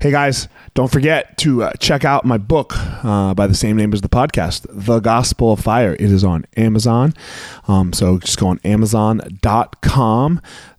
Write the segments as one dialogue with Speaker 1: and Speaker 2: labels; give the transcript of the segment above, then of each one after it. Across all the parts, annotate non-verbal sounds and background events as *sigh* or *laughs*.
Speaker 1: Hey guys, don't forget to uh, check out my book uh, by the same name as the podcast, The Gospel of Fire. It is on Amazon. Um, so just go on amazon.com,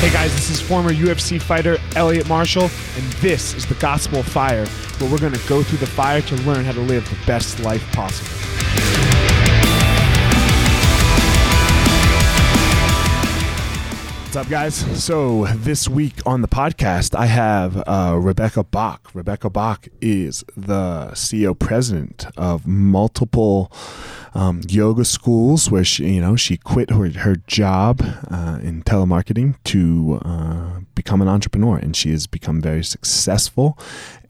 Speaker 1: Hey guys, this is former UFC fighter Elliot Marshall, and this is the Gospel of Fire, where we're going to go through the fire to learn how to live the best life possible. What's up, guys? So, this week on the podcast, I have uh, Rebecca Bach. Rebecca Bach is the CEO president of multiple um, yoga schools where she, you know, she quit her, her job uh, in telemarketing to uh, become an entrepreneur, and she has become very successful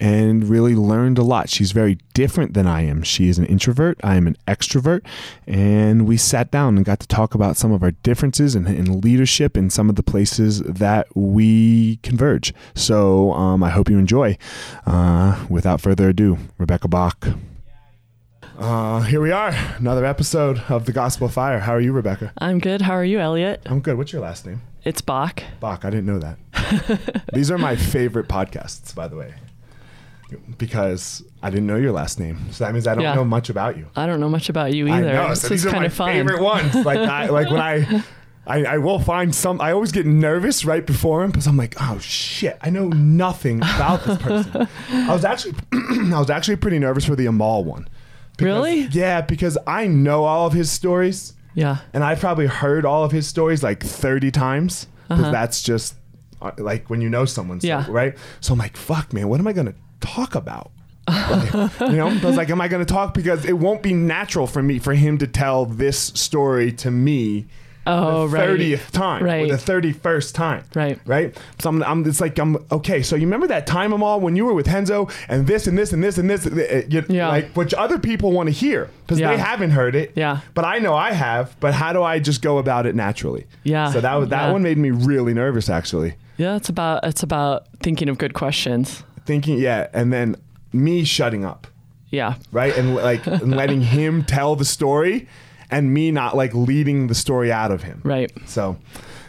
Speaker 1: and really learned a lot. She's very different than I am. She is an introvert. I am an extrovert, and we sat down and got to talk about some of our differences and, and leadership and some of the places that we converge. So um, I hope you enjoy. Uh, without further ado, Rebecca Bach. Uh, here we are, another episode of the Gospel of Fire. How are you, Rebecca?
Speaker 2: I'm good. How are you, Elliot?
Speaker 1: I'm good. What's your last name?
Speaker 2: It's Bach.
Speaker 1: *laughs* Bach. I didn't know that. These are my favorite podcasts, by the way. because I didn't know your last name. So that means I don't
Speaker 2: Yeah.
Speaker 1: know much about you.
Speaker 2: I don't know much about you either.
Speaker 1: I know.
Speaker 2: This
Speaker 1: so
Speaker 2: is
Speaker 1: these are
Speaker 2: kind
Speaker 1: my
Speaker 2: of fun.
Speaker 1: favorite
Speaker 2: *laughs*
Speaker 1: ones. Like, I, like when I, I, I will find some. I always get nervous right before him because I'm like, oh shit, I know nothing about this
Speaker 2: *laughs*
Speaker 1: person. I was actually, *clears throat* I was actually pretty nervous for the Amal one. Because-
Speaker 2: Really?
Speaker 1: Yeah, because I know all of his stories,
Speaker 2: Yeah.
Speaker 1: and I've probably heard all of his stories like 30 times. 'cause
Speaker 2: Uh-huh.
Speaker 1: that's just uh, like when you know someone, so-
Speaker 2: Yeah.
Speaker 1: right? So I'm like, fuck, man, what am I gonna talk about?
Speaker 2: *laughs*
Speaker 1: you know, I was like, am I going to talk? Because it won't be natural for me for him to tell this story to me
Speaker 2: Oh,
Speaker 1: the
Speaker 2: right.
Speaker 1: 30th time
Speaker 2: Right.
Speaker 1: or the 31st time.
Speaker 2: Right.
Speaker 1: Right. So I'm, I'm, it's like, I'm okay. So you remember that time, Amal, when you were with Henzo and this and this and this and this, uh, you-
Speaker 2: Yeah.
Speaker 1: like, which other people want to hear because
Speaker 2: Yeah.
Speaker 1: they haven't heard it.
Speaker 2: Yeah.
Speaker 1: But I know I have. But how do I just go about it naturally?
Speaker 2: Yeah.
Speaker 1: So that, was- that
Speaker 2: Yeah.
Speaker 1: one made me really nervous, actually.
Speaker 2: Yeah, it's about it's about thinking of good questions.
Speaker 1: Thinking, yeah. And then me shutting up.
Speaker 2: Yeah.
Speaker 1: right? And like and letting him tell the story and me not like leading the story out of him.
Speaker 2: Right.
Speaker 1: So,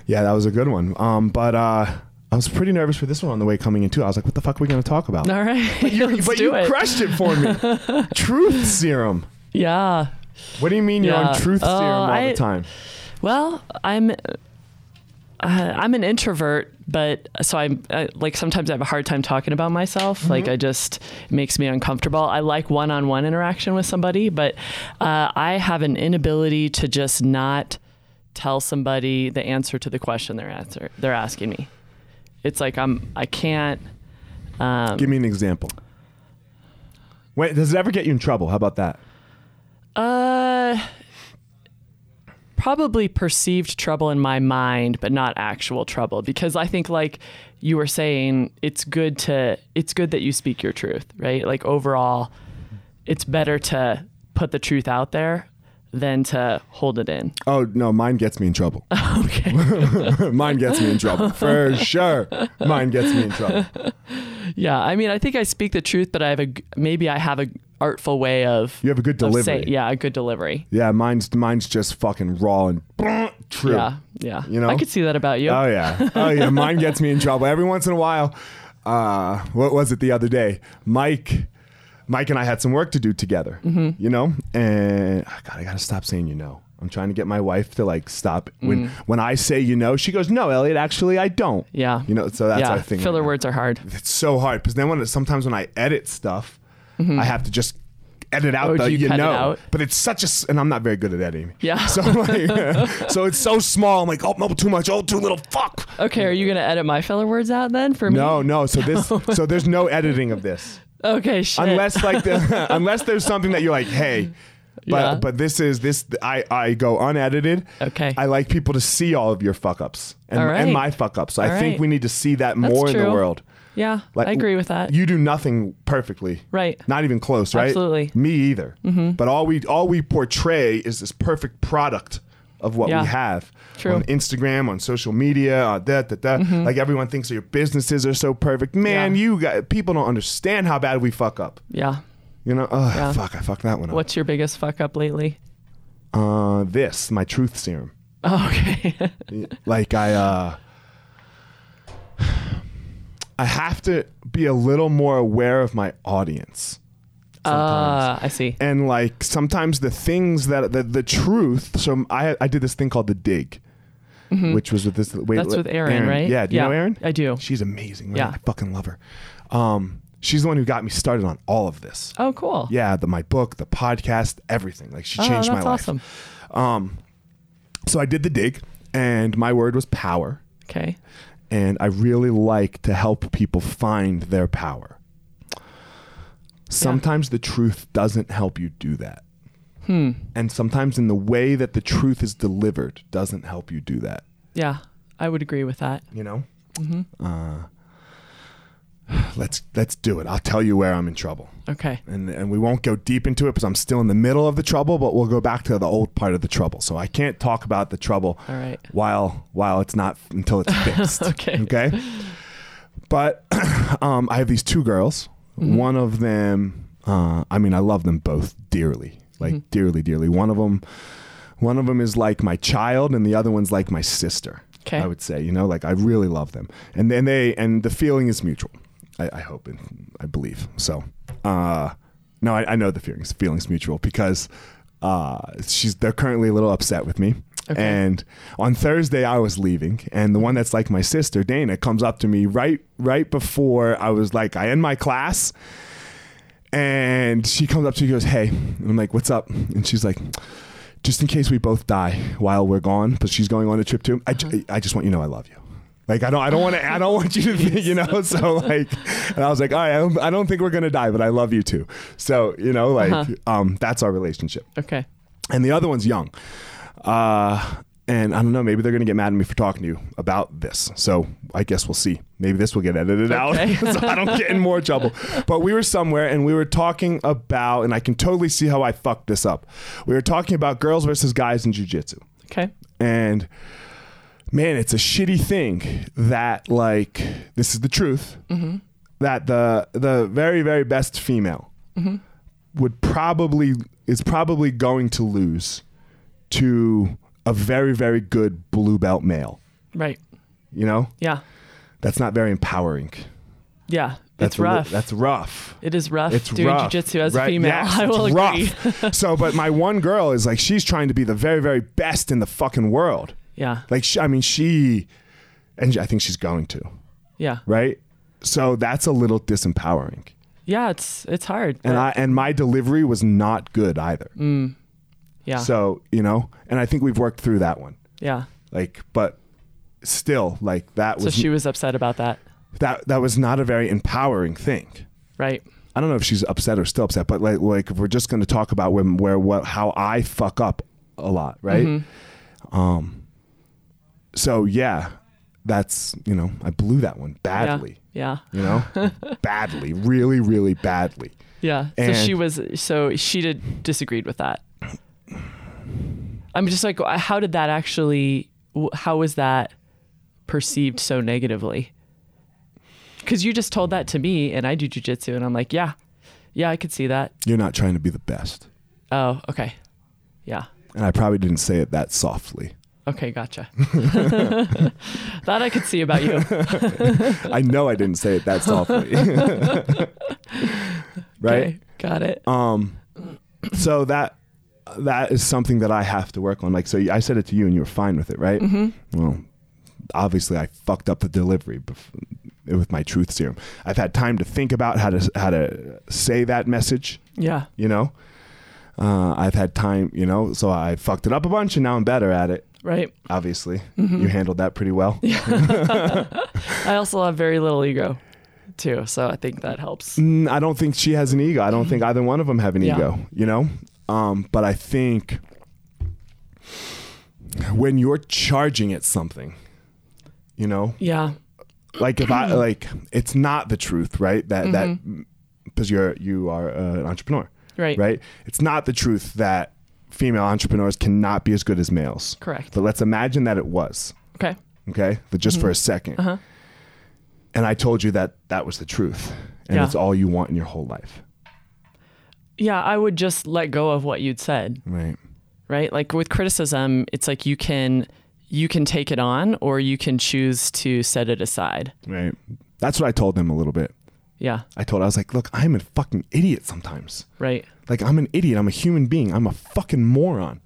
Speaker 1: yeah, that was a good one. Um, but uh, I was pretty nervous for this one on the way coming in too. I was like, what the fuck are we going to talk about?
Speaker 2: All right. But
Speaker 1: You-
Speaker 2: *laughs* Let's
Speaker 1: but
Speaker 2: do
Speaker 1: you
Speaker 2: it.
Speaker 1: crushed it for me.
Speaker 2: *laughs*
Speaker 1: truth serum.
Speaker 2: yeah.
Speaker 1: What do you mean you're on
Speaker 2: Yeah.
Speaker 1: truth
Speaker 2: Oh,
Speaker 1: serum all
Speaker 2: I-
Speaker 1: the time?
Speaker 2: Well, I'm uh, I'm an introvert, but so I'm uh, like sometimes I have a hard time talking about myself. Like I just it makes me uncomfortable. I like one-on-one interaction with somebody, but uh, I have an inability to just not tell somebody the answer to the question they're answer they're asking me. It's like I'm I can't. Um,
Speaker 1: Give me an example. Wait, does it ever get you in trouble? How about that?
Speaker 2: Uh, probably perceived trouble in my mind, but not actual trouble because I think like you were saying, it's good to it's good that you speak your truth, right? Like overall, it's better to put the truth out there than to hold it in.
Speaker 1: Oh no, mine gets me in trouble.
Speaker 2: *laughs* Okay.
Speaker 1: *laughs* mine gets me in trouble for sure. Mine gets me in trouble.
Speaker 2: yeah, I mean, I think I speak the truth, but I have a g- maybe I have a g- artful way of
Speaker 1: You have a good
Speaker 2: of
Speaker 1: delivery.
Speaker 2: say- yeah, a good delivery.
Speaker 1: Yeah, mine's mine's just fucking raw and true.
Speaker 2: Yeah, yeah.
Speaker 1: You know?
Speaker 2: I could see that about you.
Speaker 1: Oh yeah. Oh yeah. Mine gets me in trouble every once in a while. Uh, what was it the other day? Mike, Mike and I had some work to do together.
Speaker 2: Mm-hmm.
Speaker 1: You know, and oh, God, I gotta stop saying you know. I'm trying to get my wife to like stop when
Speaker 2: Mm.
Speaker 1: when I say you know, she goes no, Elliot. Actually, I don't.
Speaker 2: yeah.
Speaker 1: You know, so that's
Speaker 2: yeah.
Speaker 1: our thing.
Speaker 2: Filler
Speaker 1: right now.
Speaker 2: words
Speaker 1: *laughs*
Speaker 2: are hard.
Speaker 1: It's so hard because then when it, sometimes when I edit stuff, I have to just edit out
Speaker 2: Mm-hmm. Oh,
Speaker 1: the
Speaker 2: do you
Speaker 1: you,
Speaker 2: cut it
Speaker 1: know.
Speaker 2: out?
Speaker 1: But it's such a s- and I'm not very good at editing.
Speaker 2: Yeah.
Speaker 1: So like, *laughs* so it's so small. I'm like, oh no, too much. Oh, too little. Fuck.
Speaker 2: Okay, are you gonna edit my filler words out then for me?
Speaker 1: No, no. So
Speaker 2: *laughs*
Speaker 1: this, so there's no editing of this
Speaker 2: Okay, *laughs* shit.
Speaker 1: unless like the
Speaker 2: *laughs*
Speaker 1: *laughs* unless there's something that you're like, hey. But
Speaker 2: Yeah.
Speaker 1: but this is this I I go unedited.
Speaker 2: Okay.
Speaker 1: I like people to see all of your fuck ups and,
Speaker 2: All right.
Speaker 1: and my fuck ups. I
Speaker 2: All
Speaker 1: think
Speaker 2: right.
Speaker 1: we need to see that more in the
Speaker 2: true. Uh,
Speaker 1: world.
Speaker 2: yeah,
Speaker 1: Like,
Speaker 2: I agree with that.
Speaker 1: You do nothing perfectly.
Speaker 2: Right.
Speaker 1: Not even close, right?
Speaker 2: Absolutely. Mm-hmm.
Speaker 1: Me either. But all we all we portray is this perfect product of what
Speaker 2: Yeah.
Speaker 1: we have
Speaker 2: True. Mm-hmm.
Speaker 1: on Instagram, on social media, uh, on that, that, that. Like everyone thinks that your businesses are so perfect. Man,
Speaker 2: Yeah.
Speaker 1: you got people don't understand how bad we fuck up.
Speaker 2: yeah.
Speaker 1: You know, Ugh,
Speaker 2: Yeah.
Speaker 1: fuck, I fucked that one up.
Speaker 2: What's your biggest fuck up lately? *laughs*
Speaker 1: Uh, this my truth serum.
Speaker 2: Oh,
Speaker 1: *laughs*
Speaker 2: okay.
Speaker 1: like I uh *sighs* I have to be a little more aware of my audience.
Speaker 2: uh, I see.
Speaker 1: and like sometimes the things that the, the truth. So I I did this thing called the dig, which was with this. Wait,
Speaker 2: Mm-hmm. That's with Erin, right?
Speaker 1: Yeah, do you know Erin?
Speaker 2: I do.
Speaker 1: She's amazing. Man.
Speaker 2: Yeah.
Speaker 1: I fucking love her. Um, she's the one who got me started on all of this.
Speaker 2: Oh, cool.
Speaker 1: Yeah, the my book, the podcast, everything. Like she
Speaker 2: Oh,
Speaker 1: changed
Speaker 2: that's
Speaker 1: my life.
Speaker 2: awesome.
Speaker 1: So I did the dig, and my word was power.
Speaker 2: Okay.
Speaker 1: And I really like to help people find their power. Sometimes the truth doesn't help you do that. And sometimes in the way that the truth is delivered doesn't help you do that.
Speaker 2: Yeah, I would agree with that.
Speaker 1: You know? Uh, *sighs* let's let's do it. I'll tell you where I'm in trouble.
Speaker 2: Okay.
Speaker 1: And and we won't go deep into it because I'm still in the middle of the trouble, but we'll go back to the old part of the trouble. So I can't talk about the trouble
Speaker 2: All right.
Speaker 1: while while it's not until it's fixed.
Speaker 2: Okay.
Speaker 1: Okay. But *clears throat* um, I have these two girls. One of them, uh, I mean, I love them both dearly, like dearly, dearly. One of them, one of them is like my child, and the other one's like my sister.
Speaker 2: Okay.
Speaker 1: I would say, you know, like I really love them, and then they, and the feeling is mutual. I, I hope and I believe. So, uh, no, I, I know the feelings feelings mutual because uh, she's they're currently a little upset with me.
Speaker 2: Okay.
Speaker 1: And on Thursday I was leaving, and the one that's like my sister Dana comes up to me right right before I was like I end my class, and she comes up to me and goes, "Hey," and I'm like, "What's up?" And she's like. Just in case we both die while we're gone, but she's going on a trip too. I, ju- I just want you to know I love you. Like I don't I don't want to I don't want you to think, you know. So like, and I was like, all right, I don't, I don't think we're gonna die, but I love you too. So you know, like,
Speaker 2: Uh-huh.
Speaker 1: um, that's our relationship.
Speaker 2: Okay.
Speaker 1: And the other one's young, uh, and I don't know. Maybe they're gonna get mad at me for talking to you about this. So I guess we'll see. Maybe this will get edited
Speaker 2: Okay.
Speaker 1: out, *laughs* so I don't get in more trouble. But we were somewhere and we were talking about, and I can totally see how I fucked this up. We were talking about girls versus guys in jujitsu
Speaker 2: Okay.
Speaker 1: and man it's a shitty thing that like this is the truth
Speaker 2: Mm-hmm.
Speaker 1: that the the very very best female
Speaker 2: Mm-hmm.
Speaker 1: would probably is probably going to lose to a very very good blue belt male
Speaker 2: Right.
Speaker 1: you know
Speaker 2: Yeah.
Speaker 1: that's not very empowering
Speaker 2: Yeah.
Speaker 1: that's
Speaker 2: it's
Speaker 1: a li-
Speaker 2: rough.
Speaker 1: that's rough
Speaker 2: it is rough
Speaker 1: it's
Speaker 2: doing
Speaker 1: rough.
Speaker 2: jujitsu as
Speaker 1: Right,
Speaker 2: a female.
Speaker 1: yes,
Speaker 2: *laughs* I will
Speaker 1: it's
Speaker 2: agree. *laughs*
Speaker 1: rough. so but my one girl is like she's trying to be the very very best in the fucking world
Speaker 2: Yeah.
Speaker 1: like she, i mean she and i think she's going to
Speaker 2: Yeah.
Speaker 1: right so that's a little disempowering
Speaker 2: Yeah. It's it's hard.
Speaker 1: and
Speaker 2: but-
Speaker 1: i and my delivery was not good either
Speaker 2: Mm. yeah.
Speaker 1: so you know and i think we've worked through that one
Speaker 2: yeah.
Speaker 1: like but still like that
Speaker 2: So
Speaker 1: was
Speaker 2: she was upset about that.
Speaker 1: that that was not a very empowering thing
Speaker 2: Right.
Speaker 1: i don't know if she's upset or still upset but like like if we're just going to talk about when where what how i fuck up a lot right um
Speaker 2: Mm-hmm.
Speaker 1: so yeah that's you know i blew that one badly
Speaker 2: Yeah. Yeah.
Speaker 1: you know badly really really badly
Speaker 2: Yeah. So
Speaker 1: And-
Speaker 2: she was. So she did disagreed with that. I'm just like, how did that actually? wh- How was that perceived so negatively? Because you just told that to me, and I do jujitsu, and I'm like, yeah, yeah, I could see that.
Speaker 1: you're not trying to be the best
Speaker 2: Oh, okay, yeah,
Speaker 1: and i probably didn't say it that softly
Speaker 2: okay, gotcha. *laughs* that I could see about
Speaker 1: *laughs*
Speaker 2: you.
Speaker 1: i know i didn't say it that softly *laughs* right
Speaker 2: Okay, got it.
Speaker 1: um so that that is something that i have to work on like so i said it to you and you were fine with it right mm-hmm. well obviously i fucked up the delivery bef- with my truth serum i've had time to think about how to how to say that message
Speaker 2: yeah,
Speaker 1: you know uh, i've had time you know so i fucked it up a bunch and now i'm better at it *laughs*
Speaker 2: right. *laughs*
Speaker 1: obviously
Speaker 2: Mm-hmm.
Speaker 1: you handled that pretty well
Speaker 2: I also have very little ego, too, so I think that helps.
Speaker 1: Mm, i don't think she has an ego i don't think either one of them have an
Speaker 2: Mm-hmm. Yeah.
Speaker 1: ego you know um, but i think when you're charging at something you know
Speaker 2: Yeah,
Speaker 1: like if
Speaker 2: *clears throat*
Speaker 1: i like it's not the truth right that that because you're you are uh, an entrepreneur
Speaker 2: Mm-hmm. right,
Speaker 1: right it's not the truth that female entrepreneurs cannot be as good as males
Speaker 2: correct.
Speaker 1: But let's imagine that it was,
Speaker 2: Okay,
Speaker 1: okay? But just for a 2nd
Speaker 2: Uh-huh.
Speaker 1: And I told you that that was the truth. And
Speaker 2: Yeah.
Speaker 1: it's all you want in your whole life.
Speaker 2: yeah, I would just let go of what you'd said,
Speaker 1: Right.
Speaker 2: right? Like with criticism, it's like you can you can take it on or you can choose to set it aside.
Speaker 1: Right. That's what I told him a little bit.
Speaker 2: Yeah,
Speaker 1: I told I was like, look, I'm a fucking idiot sometimes.
Speaker 2: right.
Speaker 1: Like I'm an idiot. I'm a human being. I'm a fucking
Speaker 2: *laughs*
Speaker 1: moron.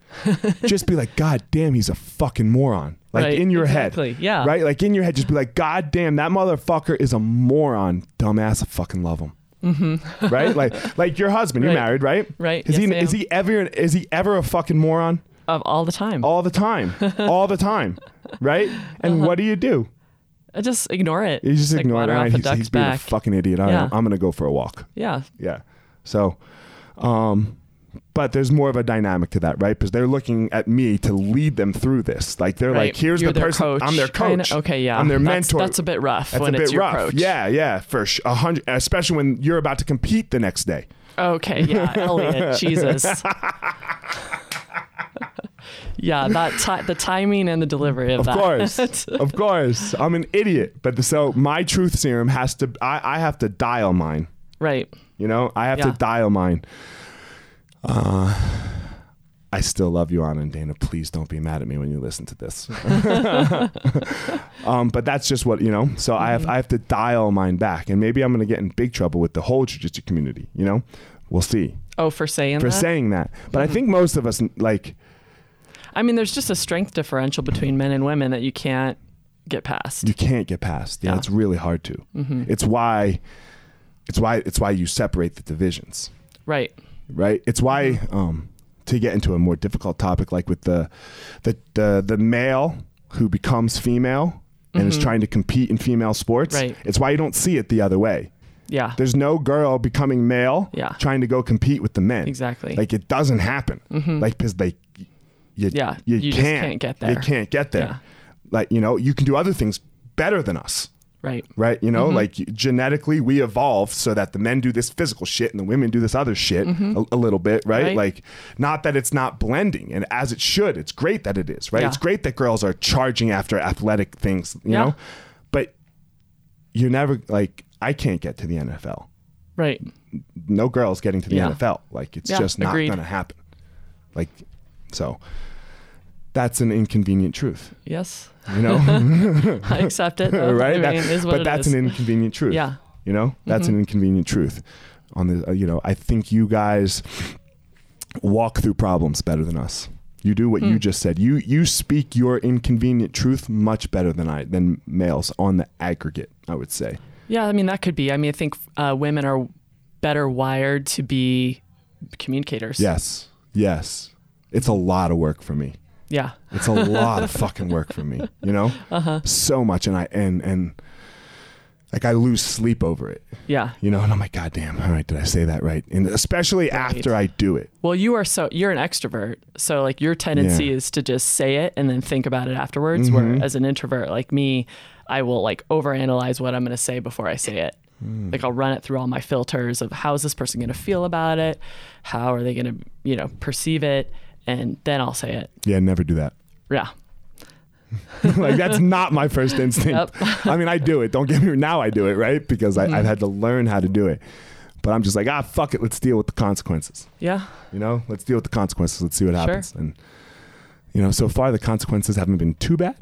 Speaker 1: just be like, God damn, he's a fucking moron. Like
Speaker 2: Right,
Speaker 1: in your
Speaker 2: exactly,
Speaker 1: head.
Speaker 2: yeah.
Speaker 1: Right? Like in your head, just be like, God damn, that motherfucker is a moron. Dumbass, I fucking love him. Mm-hmm. *laughs* right? Like like your husband, you're
Speaker 2: Right.
Speaker 1: married, right?
Speaker 2: Right,
Speaker 1: Is
Speaker 2: yes,
Speaker 1: he
Speaker 2: I
Speaker 1: is
Speaker 2: am.
Speaker 1: he ever is he ever a fucking moron?
Speaker 2: Of all the time.
Speaker 1: All the
Speaker 2: *laughs*
Speaker 1: time. all the time. Right? And what do you do?
Speaker 2: I just ignore it.
Speaker 1: You just
Speaker 2: Uh-huh. Like
Speaker 1: ignore it.
Speaker 2: water
Speaker 1: All
Speaker 2: off
Speaker 1: right,
Speaker 2: a
Speaker 1: he's,
Speaker 2: duck's
Speaker 1: he's being a
Speaker 2: back.
Speaker 1: fucking idiot. All right,
Speaker 2: Yeah.
Speaker 1: I'm gonna go for a walk.
Speaker 2: yeah.
Speaker 1: Yeah. So, um, but there's more of a dynamic to that, right? Because they're looking at me to lead them through this. Like they're
Speaker 2: right.
Speaker 1: like, here's
Speaker 2: You're
Speaker 1: the
Speaker 2: their
Speaker 1: person.
Speaker 2: coach.
Speaker 1: I'm their
Speaker 2: I know-
Speaker 1: coach.
Speaker 2: Okay, yeah.
Speaker 1: I'm their
Speaker 2: That's-
Speaker 1: mentor.
Speaker 2: That's a bit rough
Speaker 1: That's
Speaker 2: when
Speaker 1: a bit
Speaker 2: it's your
Speaker 1: rough.
Speaker 2: coach.
Speaker 1: Yeah, yeah, for sh- a hundred, especially when you're about to compete the next day. *laughs*
Speaker 2: Okay, yeah, Elliot, Jesus. yeah, that ti- the timing and the delivery of,
Speaker 1: Of
Speaker 2: that. *laughs*
Speaker 1: course, of course, I'm an idiot. But the, so my truth serum has to. I, I have to dial mine.
Speaker 2: right.
Speaker 1: You know, I have to
Speaker 2: Yeah.
Speaker 1: dial mine. Uh, I still love you, Anna and Dana. Please don't be mad at me when you listen to this. *laughs* um, but that's just what you know. So I have I have to dial mine back, and maybe I'm going to get in big trouble with the whole jujitsu community. You know, we'll see
Speaker 2: Oh, for saying
Speaker 1: for
Speaker 2: that.
Speaker 1: saying that. But I think most of us like
Speaker 2: I mean, there's just a strength differential between men and women that you can't get past.
Speaker 1: you can't get past. Yeah,
Speaker 2: Yeah.
Speaker 1: it's really hard to. It's why it's why it's why you separate the divisions.
Speaker 2: Right.
Speaker 1: right? It's why um, to get into a more difficult topic, like with the the the, the male who becomes female and is trying to compete in female sports.
Speaker 2: Right.
Speaker 1: It's why you don't see it the other way.
Speaker 2: Yeah.
Speaker 1: There's no girl becoming male
Speaker 2: Yeah.
Speaker 1: trying to go compete with the men.
Speaker 2: Exactly. Mm-hmm.
Speaker 1: Like it doesn't happen. Like because they you,
Speaker 2: Yeah,
Speaker 1: you,
Speaker 2: you
Speaker 1: can't,
Speaker 2: just can't get
Speaker 1: You
Speaker 2: there.
Speaker 1: can't get there.
Speaker 2: Yeah.
Speaker 1: Like you know you can do other things better than us
Speaker 2: right.
Speaker 1: right? You
Speaker 2: Mm-hmm.
Speaker 1: know, like genetically, we evolved so that the men do this physical shit and the women do this other shit a, a little bit, right?
Speaker 2: Mm-hmm. Right.
Speaker 1: Like, not that it's not blending, and as it should, it's great that it is, right?
Speaker 2: Yeah.
Speaker 1: It's great that girls are charging after athletic things, you
Speaker 2: Yeah.
Speaker 1: know, but you're never like, I can't get to the NFL.
Speaker 2: Right.
Speaker 1: No girls getting to the
Speaker 2: Yeah.
Speaker 1: NFL. Like, it's
Speaker 2: Yeah,
Speaker 1: just not
Speaker 2: agreed.
Speaker 1: going to happen. Like, so that's an inconvenient truth, *laughs*
Speaker 2: Yes.
Speaker 1: you
Speaker 2: *laughs*
Speaker 1: know?
Speaker 2: I accept it. though.
Speaker 1: *laughs* right?
Speaker 2: I
Speaker 1: That-
Speaker 2: mean, it is what
Speaker 1: but
Speaker 2: it
Speaker 1: that's
Speaker 2: is.
Speaker 1: an inconvenient truth.
Speaker 2: Yeah. Mm-hmm.
Speaker 1: you know that's an inconvenient truth. On the uh, you know, I think you guys walk through problems better than us. You do what you just said. You you speak your inconvenient truth much better than I than males on the aggregate. I would say.
Speaker 2: Yeah, I mean that could be. I mean, I think uh, women are better wired to be communicators.
Speaker 1: Yes, yes. It's a lot of work for me.
Speaker 2: Yeah.
Speaker 1: It's a lot of fucking work for me. You know, uh-huh. so much, and I and and like I lose sleep over it.
Speaker 2: Yeah.
Speaker 1: you know, and I'm like, God damn, all right, did I say that right? And especially after I do it.
Speaker 2: Well, you are so you're an extrovert, so like your tendency
Speaker 1: Yeah.
Speaker 2: is to just say it and then think about it afterwards. Where as an introvert like me, I will like overanalyze what I'm going to say before I say it. Like I'll run it through all my filters of how is this person going to feel about it, how are they going to you know perceive it, and then I'll say it.
Speaker 1: Yeah, never do that. *laughs*
Speaker 2: Yeah.
Speaker 1: like that's not my first instinct. *laughs* I mean, I do it. Don't get me now. I do it right because I, I've had to learn how to do it. But I'm just like, ah, fuck it. Let's deal with the consequences.
Speaker 2: Yeah.
Speaker 1: You know, let's deal with the consequences. Let's see what happens. And you know, so far the consequences haven't been too bad.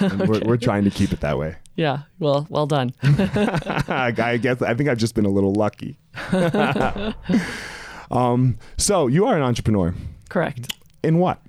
Speaker 1: And we're, we're trying to keep it that way.
Speaker 2: Yeah. Well, well done.
Speaker 1: I guess I think I've just been a little
Speaker 2: *laughs*
Speaker 1: lucky. um, so you are an entrepreneur
Speaker 2: Correct.
Speaker 1: in what?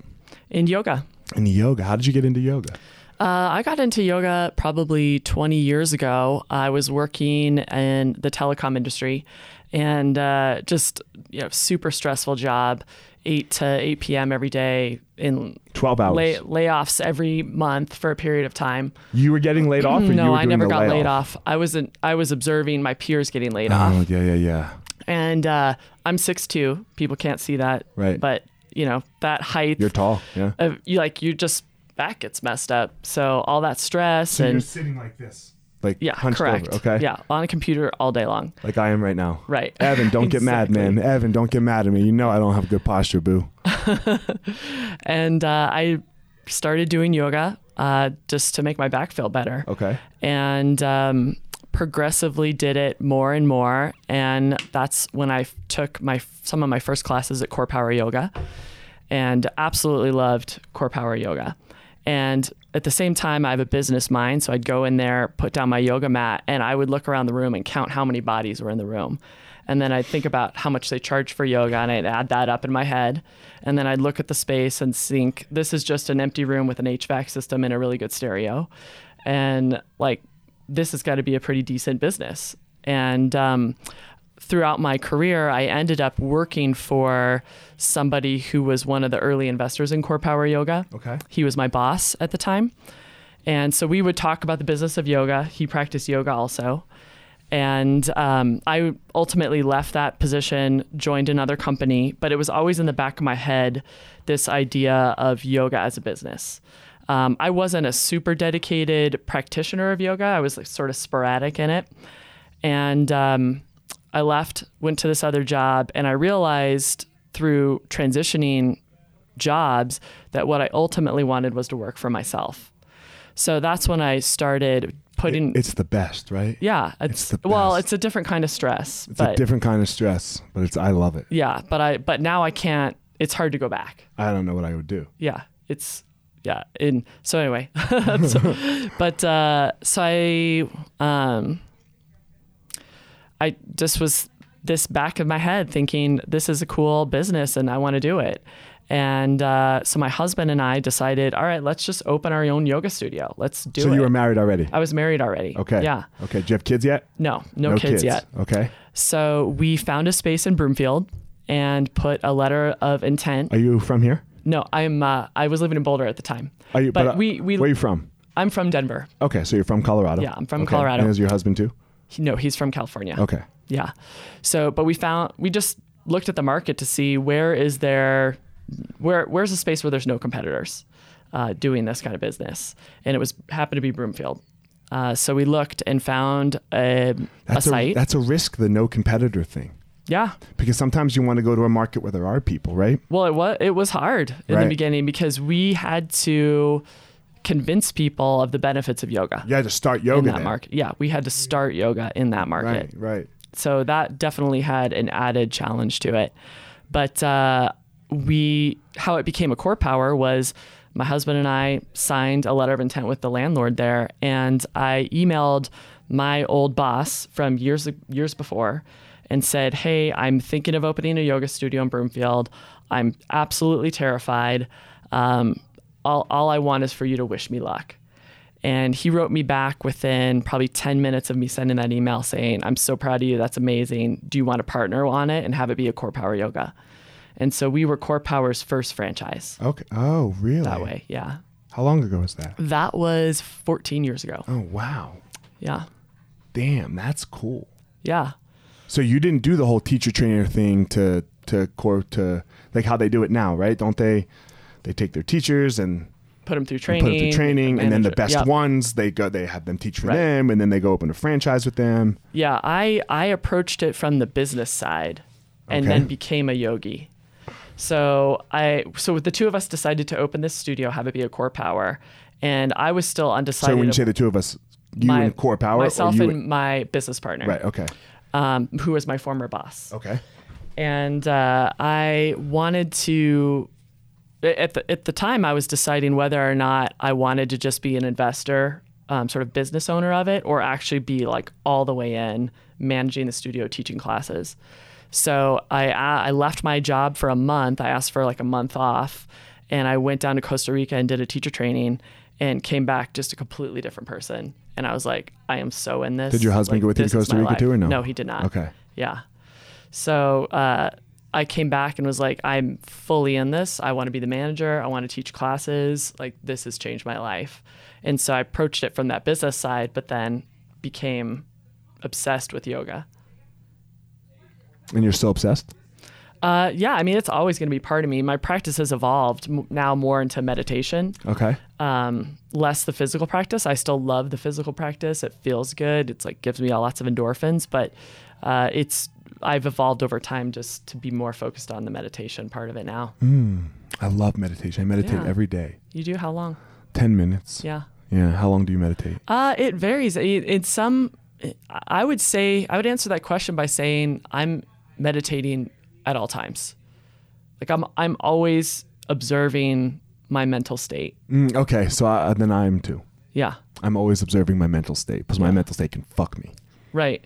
Speaker 2: In yoga.
Speaker 1: In yoga. How did you get into yoga?
Speaker 2: Uh, I got into yoga probably 20 years ago. I was working in the telecom industry and uh, just you know super stressful job, 8 to 8 p.m. every day in
Speaker 1: 12 hours.
Speaker 2: lay, layoffs every month for a period of time.
Speaker 1: You were getting laid off, or you were
Speaker 2: no, I
Speaker 1: doing
Speaker 2: never
Speaker 1: the
Speaker 2: got
Speaker 1: layoff?
Speaker 2: laid off. I was in, I was observing my peers getting laid off.
Speaker 1: Oh yeah, yeah, yeah.
Speaker 2: And uh, I'm 6'2". People can't see that.
Speaker 1: Right.
Speaker 2: But, you know, that height
Speaker 1: You're tall. Yeah.
Speaker 2: of you like you just back gets messed up. So all that stress and
Speaker 1: sitting like this, like
Speaker 2: yeah,
Speaker 1: hunched
Speaker 2: correct.
Speaker 1: over. Okay.
Speaker 2: Yeah, on a computer all day long.
Speaker 1: Like I am right now.
Speaker 2: Right.
Speaker 1: Evan, don't get mad,
Speaker 2: Exactly.
Speaker 1: man. Evan, don't get mad at me. You know I don't have good posture, boo.
Speaker 2: And uh, I started doing yoga uh, just to make my back feel better.
Speaker 1: Okay.
Speaker 2: And um, progressively did it more and more. And that's when I f- took my some of my first classes at Core Power Yoga, and absolutely loved Core Power Yoga. And at the same time, I have a business mind, so I'd go in there, put down my yoga mat, and I would look around the room and count how many bodies were in the room. And then I'd think about how much they charge for yoga, and I'd add that up in my head. And then I'd look at the space and think, this is just an empty room with an HVAC system and a really good stereo. And like, this has got to be a pretty decent business. And um, throughout my career, I ended up working for somebody who was one of the early investors in Core Power Yoga.
Speaker 1: Okay.
Speaker 2: He was my boss at the time. And so we would talk about the business of yoga. He practiced yoga also. And um, I ultimately left that position, joined another company, but it was always in the back of my head this idea of yoga as a business. Um, I wasn't a super dedicated practitioner of yoga, I was like, sort of sporadic in it. And um, I left, went to this other job, and I realized through transitioning jobs that what I ultimately wanted was to work for myself. So that's when I started putting.
Speaker 1: It's the best, right?
Speaker 2: yeah,
Speaker 1: it's
Speaker 2: it's,
Speaker 1: the
Speaker 2: well,
Speaker 1: best.
Speaker 2: it's a different kind of stress,
Speaker 1: It's
Speaker 2: but
Speaker 1: a different kind of stress, but it's I love it.
Speaker 2: yeah, but I but now I can't it's hard to go back.
Speaker 1: I don't know what I would do.
Speaker 2: Yeah, it's yeah. And so anyway, *laughs* so, but uh, so I um, I just was this back of my head thinking this is a cool business and I want to do it. And uh, so my husband and I decided, all right, let's just open our own yoga studio. Let's do
Speaker 1: so
Speaker 2: it.
Speaker 1: you were married already.
Speaker 2: I was married already.
Speaker 1: Okay.
Speaker 2: Yeah.
Speaker 1: Okay. Do you have kids yet?
Speaker 2: No, no, kids, yet.
Speaker 1: Okay.
Speaker 2: So we found a space in Broomfield and put a letter of intent.
Speaker 1: Are you from here?
Speaker 2: No, I'm. Uh, I was living in Boulder at the time.
Speaker 1: Are you?
Speaker 2: But,
Speaker 1: uh,
Speaker 2: we we.
Speaker 1: Where are you from?
Speaker 2: I'm from Denver.
Speaker 1: Okay, so you're from Colorado.
Speaker 2: Yeah, I'm from
Speaker 1: Okay.
Speaker 2: Colorado.
Speaker 1: And is your husband too?
Speaker 2: He- No, he's from California.
Speaker 1: Okay.
Speaker 2: Yeah. So, but we found we just looked at the market to see where is there, where where's a space where there's no competitors uh, doing this kind of business, and it was happened to be Broomfield. Uh, so we looked and found a, a
Speaker 1: That's
Speaker 2: site.
Speaker 1: that's a risk. The no competitor thing,
Speaker 2: yeah.
Speaker 1: because sometimes you want to go to a market where there are people, right?
Speaker 2: Well, it was it was hard in
Speaker 1: Right.
Speaker 2: the beginning because we had to convince people of the benefits of yoga
Speaker 1: Yeah, just start
Speaker 2: in
Speaker 1: yoga.
Speaker 2: that
Speaker 1: there.
Speaker 2: market. Yeah, we had to start yoga in that market.
Speaker 1: Right. Right.
Speaker 2: So that definitely had an added challenge to it. But uh, we, how it became a core power was my husband and I signed a letter of intent with the landlord there, and I emailed my old boss from years years before and said, "Hey, I'm thinking of opening a yoga studio in Broomfield. I'm absolutely terrified. Um, all, all I want is for you to wish me luck." And he wrote me back within probably 10 minutes of me sending that email saying, I'm so proud of you. That's amazing. Do you want to partner on it and have it be a Core Power Yoga? And so we were Core Power's first franchise
Speaker 1: Okay. Oh, really?
Speaker 2: that way. Yeah.
Speaker 1: How long ago was that?
Speaker 2: That was 14 years ago.
Speaker 1: Oh, wow.
Speaker 2: Yeah.
Speaker 1: Damn, that's cool.
Speaker 2: Yeah.
Speaker 1: So you didn't do the whole teacher trainer thing to to core to like how they do it now, right? Don't they? They take their teachers and
Speaker 2: Put them through
Speaker 1: and
Speaker 2: training.
Speaker 1: put them through training, and then the
Speaker 2: manager-
Speaker 1: best
Speaker 2: Yep.
Speaker 1: ones they go they have them teach for
Speaker 2: Right.
Speaker 1: them, and then they go open a franchise with them.
Speaker 2: Yeah, I I approached it from the business side, and
Speaker 1: Okay.
Speaker 2: then became a yogi. So I so the two of us decided to open this studio, have it be a core power, and I was still undecided.
Speaker 1: So when you say the two of us, you
Speaker 2: my-
Speaker 1: and Core Power,
Speaker 2: myself
Speaker 1: or you
Speaker 2: and my business partner,
Speaker 1: right? Okay,
Speaker 2: um, who was my former boss,
Speaker 1: okay.
Speaker 2: and uh, I wanted to. At the at the time, I was deciding whether or not I wanted to just be an investor, um, sort of business owner of it, or actually be like all the way in managing the studio, teaching classes. So I uh, I left my job for a month. I asked for like a month off, and I went down to Costa Rica and did a teacher training, and came back just a completely different person. And I was like, I am so in this.
Speaker 1: Did your husband
Speaker 2: Like,
Speaker 1: go with you to
Speaker 2: this is
Speaker 1: Costa
Speaker 2: my
Speaker 1: Rica too, or
Speaker 2: life.
Speaker 1: no?
Speaker 2: No, he did not.
Speaker 1: Okay.
Speaker 2: Yeah. So uh, I came back and was like, I'm fully in this. I want to be the manager. I want to teach classes. Like, this has changed my life. And so I approached it from that business side, but then became obsessed with yoga.
Speaker 1: And you're still obsessed.
Speaker 2: Uh, yeah, I mean, it's always going to be part of me. My practice has evolved m- now more into meditation,
Speaker 1: Okay,
Speaker 2: um, less the physical practice. I still love the physical practice. It feels good. It's like gives me lots of endorphins, but uh, it's I've evolved over time just to be more focused on the meditation part of it now.
Speaker 1: I love meditation. I meditate
Speaker 2: Yeah.
Speaker 1: every day,
Speaker 2: You do how long?
Speaker 1: ten minutes.
Speaker 2: Yeah.
Speaker 1: Yeah. How long do you meditate?
Speaker 2: Uh, it varies. I- In some, I would say I would answer that question by saying I'm meditating at all times. Like I'm, I'm always observing my mental state.
Speaker 1: Mm, okay, so I, then I'm too.
Speaker 2: Yeah.
Speaker 1: I'm always observing my mental state because my mental state can fuck me.
Speaker 2: Right.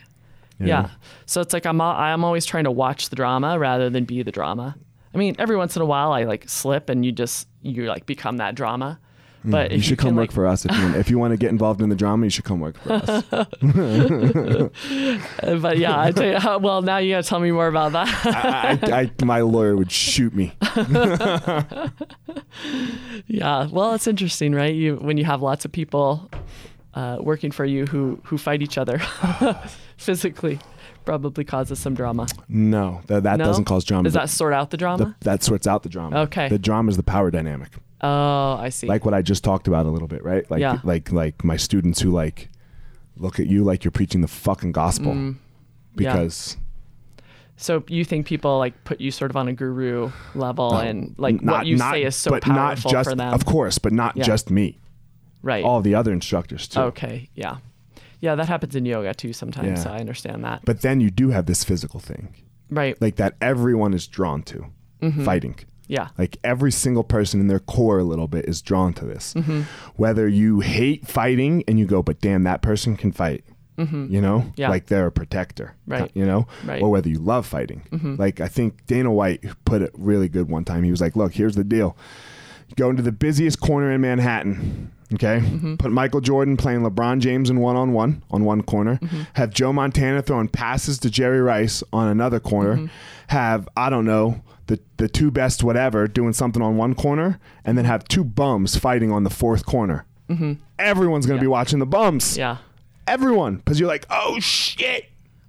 Speaker 1: you
Speaker 2: Yeah.
Speaker 1: know?
Speaker 2: So it's like I'm al- I'm always trying to watch the drama rather than be the drama. I mean, every once in a while I like slip and you just you like become that drama. But if
Speaker 1: You should
Speaker 2: can,
Speaker 1: come work
Speaker 2: like,
Speaker 1: for us if you, if you want to get involved in the drama. You should come work for us.
Speaker 2: *laughs* uh, But yeah, I tell you, well now you got to tell me more about that. *laughs*
Speaker 1: I, I, I, my lawyer would shoot me.
Speaker 2: yeah. Well, it's interesting, right? You when you have lots of people uh, working for you who who fight each other *laughs* physically, probably causes some drama.
Speaker 1: No, that, that
Speaker 2: No?
Speaker 1: doesn't cause drama.
Speaker 2: Does that sort out the
Speaker 1: Um, the,
Speaker 2: drama?
Speaker 1: that sorts out the drama.
Speaker 2: Okay.
Speaker 1: The drama is the power dynamic,
Speaker 2: oh, I see.
Speaker 1: like what I just talked about a little bit, right? Like,
Speaker 2: Yeah.
Speaker 1: like, like my students who like look at you like you're preaching the fucking gospel
Speaker 2: Mm.
Speaker 1: because
Speaker 2: So you think people like put you sort of on a guru level and like
Speaker 1: not
Speaker 2: what you
Speaker 1: not,
Speaker 2: say is so
Speaker 1: but not
Speaker 2: powerful
Speaker 1: just
Speaker 2: for them.
Speaker 1: of course, but not
Speaker 2: Yeah. Oh.
Speaker 1: just me,
Speaker 2: right.
Speaker 1: all the other instructors too.
Speaker 2: okay. Yeah. Yeah, that happens in yoga too sometimes.
Speaker 1: Yeah.
Speaker 2: So I understand that.
Speaker 1: But then you do have this physical thing,
Speaker 2: right. Mm-hmm.
Speaker 1: like that everyone is drawn to, fighting.
Speaker 2: Yeah.
Speaker 1: Like every single person in their core a little bit is drawn to this.
Speaker 2: Mm-hmm.
Speaker 1: Whether you hate fighting and you go, but damn, that person can fight. You know,
Speaker 2: Mm-hmm. Yeah.
Speaker 1: like they're a protector,
Speaker 2: Right.
Speaker 1: You know,
Speaker 2: Right. Mm-hmm.
Speaker 1: or whether you love fighting. Like I think Dana White put it really good one time. He was like, "Look, here's the deal: go into the busiest corner in Manhattan. Okay.
Speaker 2: Mm-hmm.
Speaker 1: Put Michael Jordan playing LeBron James in one on one on one corner.
Speaker 2: Mm-hmm.
Speaker 1: Have Joe Montana throwing passes to Jerry Rice on another corner.
Speaker 2: Mm-hmm.
Speaker 1: Have, I don't know, the, the two best whatever doing something on one corner. And then have two bums fighting on the fourth corner. Everyone's going to be watching the bums.
Speaker 2: Mm-hmm. Yeah.
Speaker 1: Everyone. Because you're like, oh shit.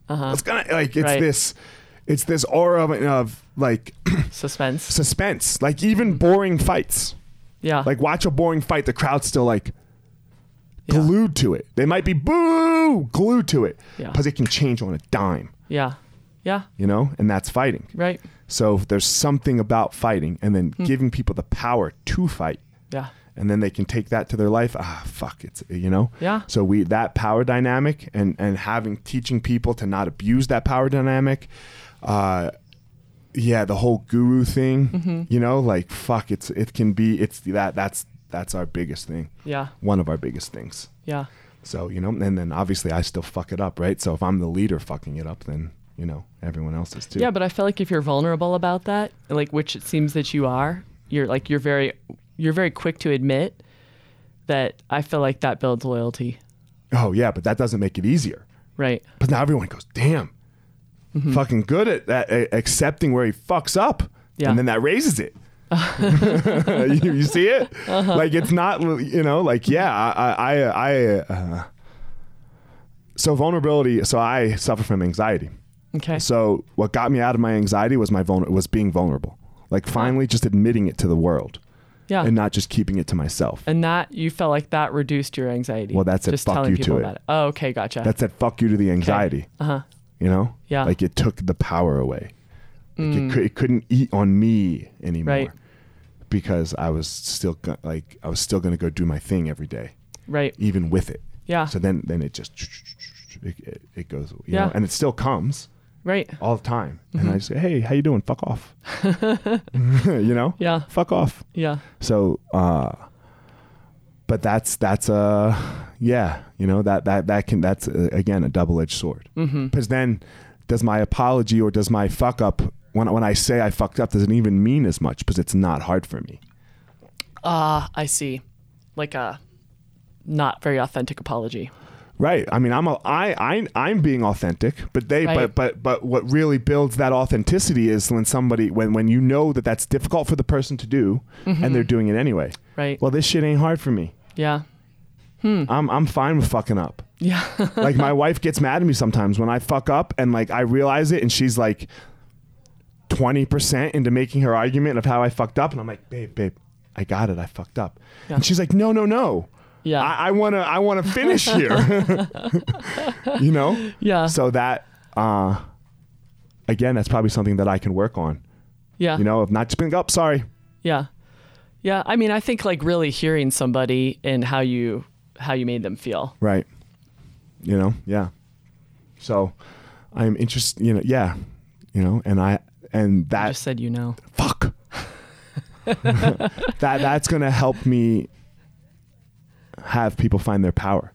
Speaker 1: It's going to, like, it's
Speaker 2: Uh-huh. Right.
Speaker 1: this. It's this aura of, of like *clears throat*
Speaker 2: Suspense.
Speaker 1: suspense, like even boring fights.
Speaker 2: Yeah.
Speaker 1: Like watch a boring fight, the crowd's still like
Speaker 2: Yeah.
Speaker 1: glued to it. They might be boo glued to it
Speaker 2: Yeah.
Speaker 1: because it can change on a dime,
Speaker 2: Yeah. Yeah.
Speaker 1: you know, and that's fighting.
Speaker 2: Right.
Speaker 1: So there's something about fighting and
Speaker 2: Hmm.
Speaker 1: then giving people the power to fight,
Speaker 2: Yeah.
Speaker 1: and then they can take that to their life. Ah, fuck, it's you know.
Speaker 2: Yeah.
Speaker 1: So we that power dynamic and and having teaching people to not abuse that power dynamic. Uh, yeah, the whole guru thing,
Speaker 2: Mm-hmm.
Speaker 1: you know, like fuck, it's it can be it's that that's that's our biggest thing
Speaker 2: Yeah.
Speaker 1: one of our biggest things.
Speaker 2: Yeah.
Speaker 1: So, you know, and then obviously I still fuck it up, right? So if I'm the leader fucking it up, then, you know, everyone else is too.
Speaker 2: Yeah, but I feel like if you're vulnerable about that, like which it seems that you are, you're like you're very you're very quick to admit that I feel like that builds loyalty.
Speaker 1: oh, yeah, but that doesn't make it easier.
Speaker 2: Right.
Speaker 1: But now everyone goes, damn, fucking good at that, a- accepting where he fucks up.
Speaker 2: Yeah.
Speaker 1: And then that raises it. *laughs* you, you see it? Like it's not, you know, like yeah, I, I, I. Uh, so vulnerability. So I suffer from anxiety.
Speaker 2: Okay.
Speaker 1: So what got me out of my anxiety was my vulner- was being vulnerable, like finally just admitting it to the world
Speaker 2: yeah.
Speaker 1: and not just keeping it to myself.
Speaker 2: And that you felt like that reduced your anxiety.
Speaker 1: Well, that said,
Speaker 2: just
Speaker 1: fuck
Speaker 2: telling
Speaker 1: you
Speaker 2: people
Speaker 1: to it.
Speaker 2: about it. Oh, okay, gotcha.
Speaker 1: That said, fuck you to the anxiety.
Speaker 2: Uh huh.
Speaker 1: You know,
Speaker 2: Yeah. Mm.
Speaker 1: like it took the power away. Like it, cou- it couldn't eat on me anymore
Speaker 2: Right.
Speaker 1: because I was still go- like I was still gonna go do my thing every day,
Speaker 2: Right.
Speaker 1: even with it.
Speaker 2: Yeah.
Speaker 1: So then, then it just it, it, it goes. You
Speaker 2: Ah. Yeah. Mm-hmm.
Speaker 1: know? and it still comes
Speaker 2: Right.
Speaker 1: all the time. And I just say, hey, how you doing? Fuck
Speaker 2: *laughs*
Speaker 1: off. *laughs* you know.
Speaker 2: Yeah.
Speaker 1: Fuck off.
Speaker 2: Yeah.
Speaker 1: So, uh, but that's that's uh, yeah, you know that that that can that's uh, again a double edged sword. Because then, does my apology or does my fuck up when when I say I fucked up does it even mean as much because it's not hard for me.
Speaker 2: Ah, I see. Like a not very authentic apology.
Speaker 1: Right. I mean, I'm a, I, I I'm being authentic, but they
Speaker 2: Right.
Speaker 1: but but but what really builds that authenticity is when somebody when when you know that that's difficult for the person to do and they're doing it anyway.
Speaker 2: Right.
Speaker 1: Well, this shit ain't hard for me.
Speaker 2: yeah.
Speaker 1: I'm I'm fine with fucking up.
Speaker 2: Yeah. *laughs*
Speaker 1: like my wife gets mad at me sometimes when I fuck up and like I realize it and she's like 20% into making her argument of how I fucked up and I'm like, "Babe, babe, I got it. I fucked up." And she's like, "No, no, no.
Speaker 2: yeah.
Speaker 1: I, I want to I want to finish here." *laughs* you know?
Speaker 2: yeah.
Speaker 1: So that uh again, that's probably something that I can work on.
Speaker 2: yeah.
Speaker 1: You know, of not just being up, sorry.
Speaker 2: Yeah. Yeah. I mean, I think like really hearing somebody and how you how you made them feel.
Speaker 1: Right. You know, yeah. So I'm interested, you know, yeah. You know, and I and
Speaker 2: I
Speaker 1: that
Speaker 2: just said you know.
Speaker 1: fuck *laughs* that that's going to help me have people find their power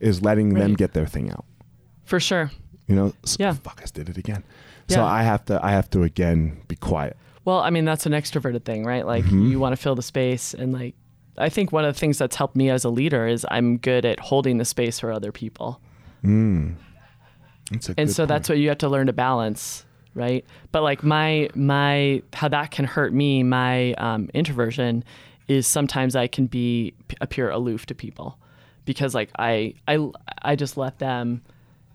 Speaker 1: is letting them
Speaker 2: Right.
Speaker 1: get their thing out
Speaker 2: For sure.
Speaker 1: you know S-
Speaker 2: Yeah.
Speaker 1: fuck i did it again so
Speaker 2: Yeah.
Speaker 1: i have to i have to again be quiet
Speaker 2: Well, I mean, that's an extroverted thing, right? Like
Speaker 1: Mm-hmm.
Speaker 2: you want to fill the space and like I think one of the things that's helped me as a leader is I'm good at holding the space for other people.
Speaker 1: That's a
Speaker 2: And
Speaker 1: good
Speaker 2: so
Speaker 1: point.
Speaker 2: that's what you have to learn to balance, right? But like my my how that can hurt me, my um, introversion is sometimes I can be appear aloof to people because like I I I just let them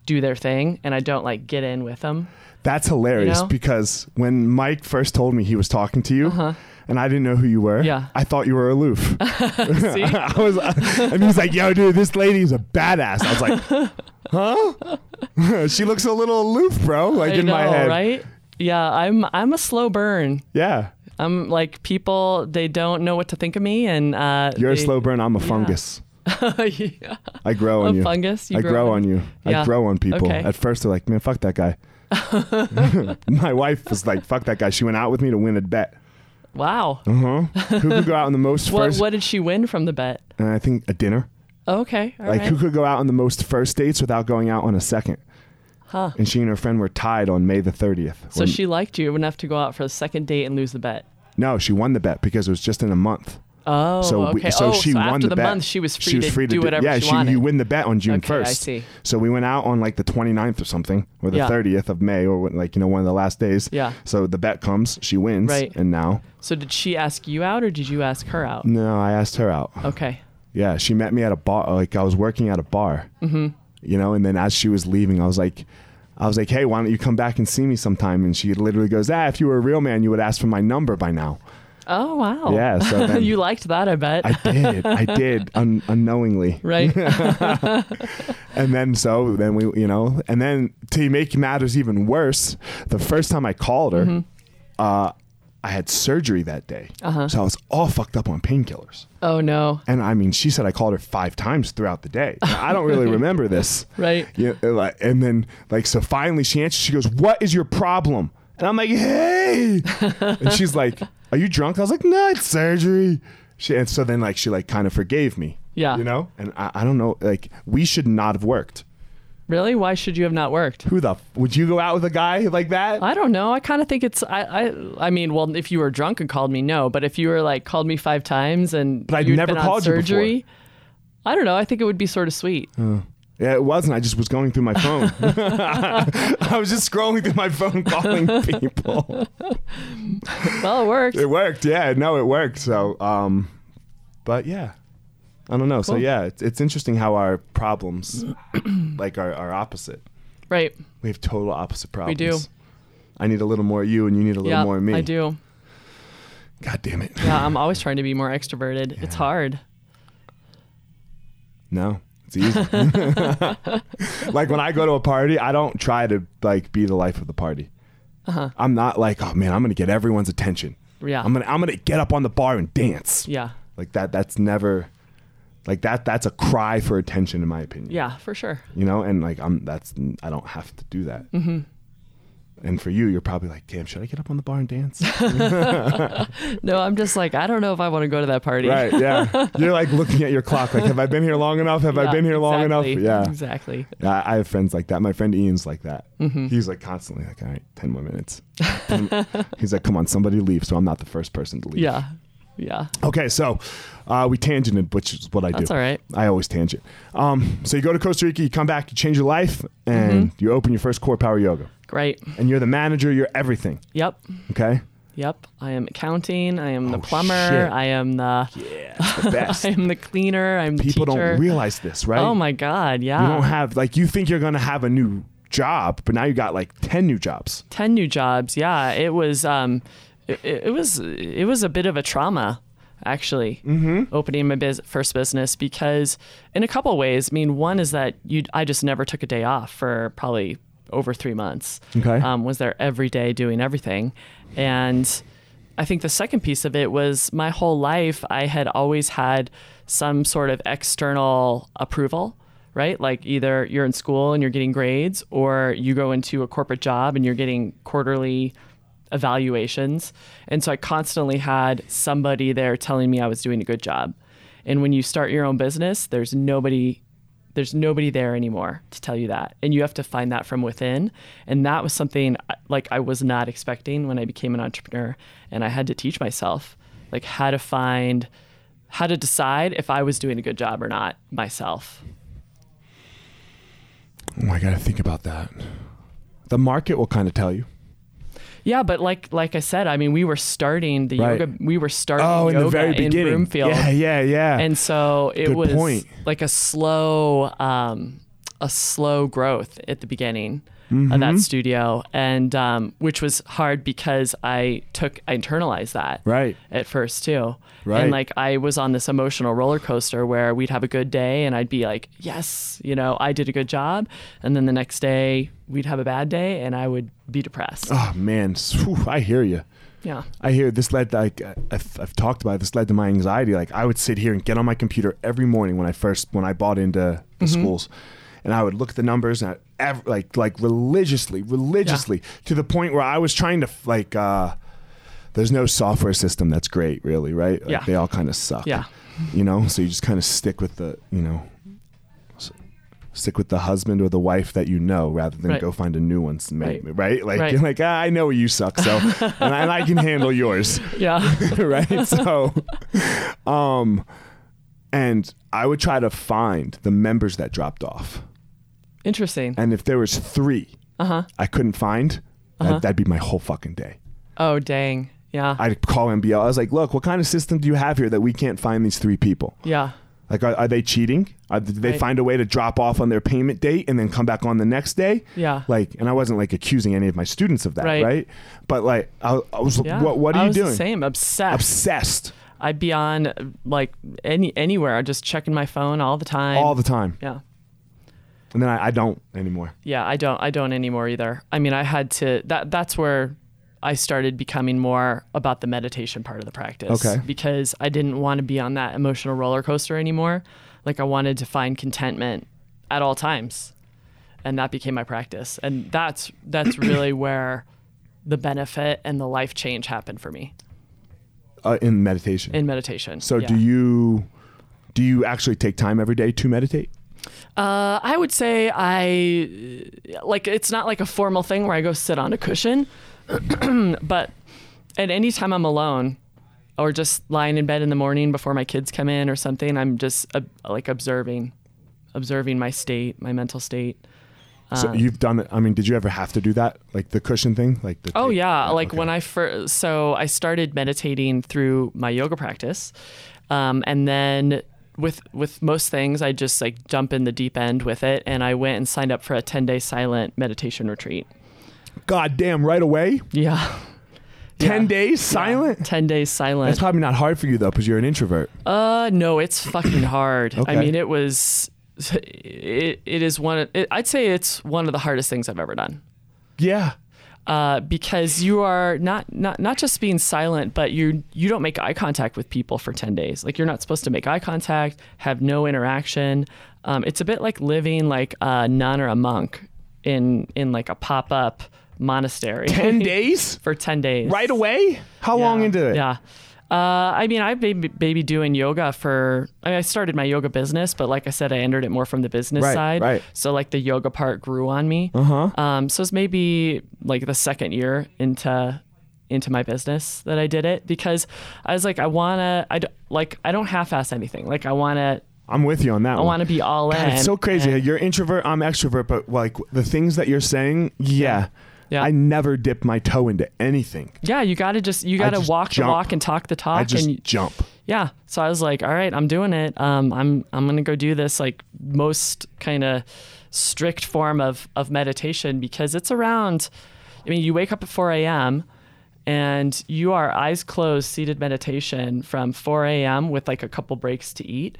Speaker 2: do their thing and I don't like get in with them.
Speaker 1: that's hilarious
Speaker 2: you know?
Speaker 1: because when mike first told me he was talking to you and i didn't know who you were
Speaker 2: Uh-huh. Yeah.
Speaker 1: i thought you were aloof
Speaker 2: *laughs*
Speaker 1: *laughs*
Speaker 2: See?
Speaker 1: I was, and he was like, "Yo, dude, this lady is a badass." I was
Speaker 2: *laughs*
Speaker 1: like, "Huh? *laughs* she looks a little aloof, bro." Like
Speaker 2: I
Speaker 1: in my
Speaker 2: know,
Speaker 1: head,
Speaker 2: right? Yeah, I'm I'm a slow burn.
Speaker 1: Yeah,
Speaker 2: I'm Um, like people they don't know what to think of me and uh
Speaker 1: you're a
Speaker 2: they- *laughs*
Speaker 1: slow *laughs* burn. I'm a fungus.
Speaker 2: yeah.
Speaker 1: I grow on
Speaker 2: A
Speaker 1: you.
Speaker 2: fungus? You
Speaker 1: I
Speaker 2: grow
Speaker 1: grow on
Speaker 2: on-
Speaker 1: you. I
Speaker 2: Yeah.
Speaker 1: grow on people.
Speaker 2: Okay.
Speaker 1: At first, they're like, "Man, *laughs*
Speaker 2: *laughs*
Speaker 1: fuck that guy." my wife was like, "Fuck that guy." She went out with me to win a bet. *laughs*
Speaker 2: Wow.
Speaker 1: Uh huh. who could go out on the most
Speaker 2: What
Speaker 1: first?
Speaker 2: what did she win from the bet? Oh,
Speaker 1: And I think a dinner.
Speaker 2: Okay. all right.
Speaker 1: like who could go out on the most first dates without going out on a second?
Speaker 2: Huh.
Speaker 1: And she and her friend were tied on May the thirtieth.
Speaker 2: So she liked you enough to go out for the second date and lose the bet.
Speaker 1: no, she won the bet because it was just in a month.
Speaker 2: Oh,
Speaker 1: So we-
Speaker 2: okay.
Speaker 1: so
Speaker 2: oh,
Speaker 1: she
Speaker 2: so
Speaker 1: won
Speaker 2: after
Speaker 1: the bet.
Speaker 2: month, she was free, to, do whatever
Speaker 1: yeah,
Speaker 2: she wanted.
Speaker 1: you win the bet on June
Speaker 2: Okay, I
Speaker 1: first.
Speaker 2: see.
Speaker 1: So we went out on like the 29th or something, or the
Speaker 2: Yeah.
Speaker 1: 30th of May, or when- like you know one of the last days.
Speaker 2: Yeah.
Speaker 1: So the bet comes, she wins,
Speaker 2: Right.
Speaker 1: and now
Speaker 2: So did she ask you out or did you ask her out?
Speaker 1: no, I asked her out.
Speaker 2: Okay.
Speaker 1: Yeah, she met me at a bar. Like I was working at a bar, mm-hmm. you know. And then as she was leaving, I was like, I was like, hey, why don't you come back and see me sometime? And she literally goes, ah, if you were a real man, you would ask for my number by now.
Speaker 2: Oh wow.
Speaker 1: Yeah,
Speaker 2: *laughs*
Speaker 1: so then-
Speaker 2: you liked that, I bet.
Speaker 1: I did,
Speaker 2: *laughs*
Speaker 1: I did, un- unknowingly. *laughs*
Speaker 2: right.
Speaker 1: And then so then we you know and then to make matters even worse, the first time I called her, uh, I had surgery that day,
Speaker 2: Mm-hmm. Uh-huh.
Speaker 1: so I was all fucked up on painkillers.
Speaker 2: oh no.
Speaker 1: And I mean, she said I called her five times throughout the day. Now, I don't really remember this,
Speaker 2: *laughs* Right.
Speaker 1: Yeah, like- and then like so finally she answers. She goes, "What is your problem?" And I'm like,
Speaker 2: *laughs*
Speaker 1: "Hey," and she's like, "Are you drunk?" I was like, "No, it's surgery." She, and so then like she like kind of forgave me.
Speaker 2: Yeah.
Speaker 1: you know. And I, I don't know. Like we should not have worked.
Speaker 2: Really? Why should you have not worked?
Speaker 1: Who the f- would you go out with a guy like that?
Speaker 2: I don't know. I kind of think it's I, I I mean, well, if you were drunk and called me, no. But if you were like called me five times and
Speaker 1: But I'd
Speaker 2: you'd
Speaker 1: never
Speaker 2: been on
Speaker 1: called you before.
Speaker 2: surgery, I don't know. I think it would be sort of sweet.
Speaker 1: Mm. yeah, it wasn't. I just was going through my
Speaker 2: *laughs*
Speaker 1: phone. *laughs* I was just scrolling through my phone, calling
Speaker 2: *laughs*
Speaker 1: people.
Speaker 2: well, it worked.
Speaker 1: It worked. Yeah, no, it worked. So, um, but yeah, I don't know. So
Speaker 2: Cool.
Speaker 1: yeah, it's, it's interesting how our
Speaker 2: *clears throat*
Speaker 1: problems, like, are, are opposite.
Speaker 2: right.
Speaker 1: We have total opposite problems.
Speaker 2: do.
Speaker 1: I need a little more of you, and you need a little
Speaker 2: Yeah.
Speaker 1: more of me.
Speaker 2: I do.
Speaker 1: God damn it.
Speaker 2: Yeah, I'm always trying to be more extroverted. It's hard.
Speaker 1: No, it's easy. *laughs* like when I go to a party, I don't try to like be the life of the party.
Speaker 2: Uh-huh.
Speaker 1: I'm not like, oh man, I'm gonna get everyone's attention.
Speaker 2: Yeah.
Speaker 1: I'm gonna I'm gonna get up on the bar and dance.
Speaker 2: Yeah.
Speaker 1: Like that. That's never. Like that. That's a cry for attention, in my opinion.
Speaker 2: Yeah, for sure.
Speaker 1: You know, and like I'm. That's I don't have to do that. Mm-hmm. And for you, you're probably like, damn, should I get up on the bar and
Speaker 2: *laughs*
Speaker 1: dance?
Speaker 2: No, I'm just like, I don't know if I want to go to that party.
Speaker 1: right.
Speaker 2: *laughs*
Speaker 1: Yeah. You're like looking at your clock. Like, have I been here long enough? Have I
Speaker 2: Yeah,
Speaker 1: been here long
Speaker 2: exactly,
Speaker 1: enough? Yeah.
Speaker 2: Exactly.
Speaker 1: Yeah, I I have friends like that. My friend Ian's like that.
Speaker 2: Mm-hmm.
Speaker 1: He's like constantly like, all right, 10 more
Speaker 2: *laughs*
Speaker 1: minutes. He's like, come on, somebody leave. So I'm not the first person to leave.
Speaker 2: Yeah. Yeah.
Speaker 1: Okay, so uh, we tangented, which is what I do.
Speaker 2: That's all right.
Speaker 1: I always tangent. Um, so you go to Costa Rica, you come back, you change your life, and
Speaker 2: Mm-hmm.
Speaker 1: you open your first core power yoga.
Speaker 2: Great.
Speaker 1: And you're the manager, you're everything.
Speaker 2: Yep.
Speaker 1: Okay?
Speaker 2: Yep. I am accounting. I am the
Speaker 1: Oh,
Speaker 2: plumber.
Speaker 1: shit.
Speaker 2: I am the
Speaker 1: Yeah. It's the best.
Speaker 2: I am the cleaner. *laughs* I'm
Speaker 1: People
Speaker 2: the teacher.
Speaker 1: don't realize this, right?
Speaker 2: Oh my god, yeah.
Speaker 1: You don't have, like, you think you're going to have a new job, but now you got like 10 new jobs.
Speaker 2: 10 new jobs. Yeah, it was um it, it was it was a bit of a trauma actually
Speaker 1: Mm-hmm.
Speaker 2: opening my biz- first business because in a couple ways, I mean, one is that you I just never took a day off for probably over 3 months.
Speaker 1: Okay.
Speaker 2: Um was there every day doing everything and I think the second piece of it was my whole life I had always had some sort of external approval, right? Like either you're in school and you're getting grades or you go into a corporate job and you're getting quarterly evaluations. And so I constantly had somebody there telling me I was doing a good job. And when you start your own business, there's nobody there's nobody there anymore to tell you that and you have to find that from within and that was something uh, like i was not expecting when i became an entrepreneur and i had to teach myself like how to find how to decide if i was doing a good job or not myself
Speaker 1: Oh, I got to think about that. The market will kind of tell you.
Speaker 2: yeah but like like i said i mean we were starting the
Speaker 1: Right.
Speaker 2: yoga we were starting
Speaker 1: Oh, in
Speaker 2: yoga
Speaker 1: the very beginning.
Speaker 2: in broomfield
Speaker 1: Yeah, yeah, yeah.
Speaker 2: and so it
Speaker 1: Good
Speaker 2: was
Speaker 1: point.
Speaker 2: like a slow um, a slow growth at the beginning
Speaker 1: Mm-hmm.
Speaker 2: of that studio and um, which was hard because i took i internalized that
Speaker 1: right.
Speaker 2: at first too.
Speaker 1: Right.
Speaker 2: And like I was on this emotional roller coaster where we'd have a good day and I'd be like, "Yes, you know, I did a good job." And then the next day, we'd have a bad day and I would be depressed.
Speaker 1: Oh man, Phew, I hear you.
Speaker 2: Yeah.
Speaker 1: I hear this led like I- I've, I've talked about it, this led to my anxiety. Like I would sit here and get on my computer every morning when I first when I bought into the
Speaker 2: Mm-hmm.
Speaker 1: schools, and I would look at the numbers and I, ev- like like religiously, religiously to the point where I was trying to like uh, there's no software system that's great, really, right? Like,
Speaker 2: Yeah.
Speaker 1: They all kind of suck.
Speaker 2: Yeah.
Speaker 1: You know, so you just kind of stick with the, you know, s- stick with the husband or the wife that you know rather than
Speaker 2: Right.
Speaker 1: go find a new one. s- ma-
Speaker 2: Right.
Speaker 1: right? Like,
Speaker 2: Right.
Speaker 1: you're like, ah, I know you suck,
Speaker 2: *laughs*
Speaker 1: so, and, I, and I can handle yours. *laughs*
Speaker 2: Yeah. *laughs*
Speaker 1: right? So, um, and I would try to find the members that dropped off,
Speaker 2: Interesting.
Speaker 1: and if there was three, uh-huh. I couldn't find.
Speaker 2: Uh-huh.
Speaker 1: That, that'd be my whole fucking day.
Speaker 2: Oh, dang. Yeah.
Speaker 1: I'd call MBL. I was like, "Look, what kind of system do you have here that we can't find these three people?
Speaker 2: yeah.
Speaker 1: Like, are, are they cheating? Are, did they
Speaker 2: Right.
Speaker 1: find a way to drop off on their payment date and then come back on the next day?
Speaker 2: Yeah.
Speaker 1: Like, and I wasn't like accusing any of my students of that, right?
Speaker 2: Right.
Speaker 1: But like, I, I was,
Speaker 2: Yeah.
Speaker 1: what, what are
Speaker 2: I
Speaker 1: you
Speaker 2: was
Speaker 1: doing?
Speaker 2: The same. Obsessed.
Speaker 1: Obsessed
Speaker 2: I'd be on like any anywhere. Just checking my phone all the time.
Speaker 1: all the time,
Speaker 2: yeah.
Speaker 1: and then I, I don't anymore.
Speaker 2: yeah i don't i don't anymore either i mean i had to that that's where i started becoming more about the meditation part of the practice
Speaker 1: Okay.
Speaker 2: because i didn't want to be on that emotional roller coaster anymore like i wanted to find contentment at all times and that became my practice and that's
Speaker 1: *clears throat*
Speaker 2: that's really where the benefit and the life change happened for me
Speaker 1: uh, in meditation.
Speaker 2: in meditation
Speaker 1: so
Speaker 2: Yeah.
Speaker 1: do you do you actually take time every day to meditate?
Speaker 2: Uh, I would say I like it's not like a formal thing where I go sit on a cushion, *clears throat* but at any time I'm alone or just lying in bed in the morning before my kids come in or something, I'm just uh, like observing, observing my state, my mental state. Uh,
Speaker 1: so you've done it. I mean, did you ever have to do that, like the cushion thing, like the?
Speaker 2: Oh yeah, like when I first so I started meditating through my yoga practice, um, and then with with most things I just like jump in the deep end with it, and I went and signed up for a ten day silent meditation retreat.
Speaker 1: God damn, right away,
Speaker 2: Yeah,
Speaker 1: ten
Speaker 2: Yeah.
Speaker 1: days silent.
Speaker 2: ten days
Speaker 1: That's
Speaker 2: silent.
Speaker 1: probably not hard for you though, because you're an introvert.
Speaker 2: Uh, no, it's fucking hard.
Speaker 1: Okay.
Speaker 2: I mean, it was. It, it is one. Of, it, I'd say it's one of the hardest things I've ever done.
Speaker 1: yeah,
Speaker 2: uh, because you are not, not not just being silent, but you you don't make eye contact with people for ten days. Like you're not supposed to make eye contact, have no interaction. Um, it's a bit like living like a nun or a monk in in like a pop up monastery *laughs*
Speaker 1: ten days
Speaker 2: for ten days.
Speaker 1: right away. How long
Speaker 2: Yeah.
Speaker 1: into it?
Speaker 2: Yeah. Uh, I mean, I've been maybe doing yoga for. I, mean, I started my yoga business, but like I said, I entered it more from the business
Speaker 1: Right,
Speaker 2: side.
Speaker 1: right. Uh-huh.
Speaker 2: So like the yoga part grew on me. Uh huh. Um, so it's maybe like the second year into into my business that I did it because I was like, I wanna, I d- like, I don't half-ass anything. Like I wanna,
Speaker 1: I'm with you on that.
Speaker 2: I wanna be all in.
Speaker 1: It's so crazy.
Speaker 2: And-
Speaker 1: you're introvert. I'm extrovert. But like the things that you're saying, yeah,
Speaker 2: Yeah.
Speaker 1: I never dip my toe into anything.
Speaker 2: yeah, you gotta just, you gotta
Speaker 1: just
Speaker 2: walk
Speaker 1: jump.
Speaker 2: the walk and talk the talk.
Speaker 1: I just
Speaker 2: and
Speaker 1: jump.
Speaker 2: yeah so i was like all right i'm doing it um, i'm i'm gonna go do this like most kind of strict form of of meditation because it's around i mean you wake up at 4 a.m and you are eyes closed seated meditation from 4 a.m with like a couple breaks to eat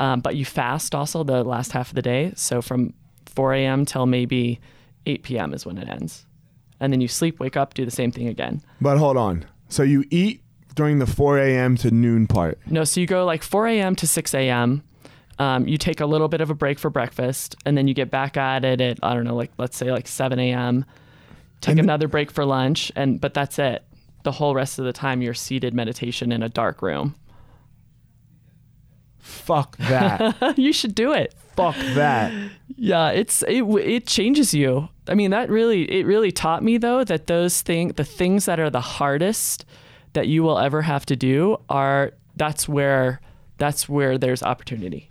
Speaker 2: um, but you fast also the last half of the day so from 4 a.m till maybe 8 p.m is when it ends and then you sleep wake up do the same thing again
Speaker 1: But hold on. So you eat during the 4 a.m. to noon part.
Speaker 2: No, so you go like 4 a.m. to 6 a.m. Um, you take a little bit of a break for breakfast, and then you get back at it at I don't know, like let's say like 7 a.m. Take another break for lunch, and but that's it. The whole rest of the time, you're seated meditation in a dark room. *laughs*
Speaker 1: Fuck that.
Speaker 2: you should do it.
Speaker 1: *laughs* Fuck that.
Speaker 2: Yeah, it's it w- it changes you. I mean, that really it really taught me though that those thing the things that are the hardest that you will ever have to do are that's where that's where there's opportunity.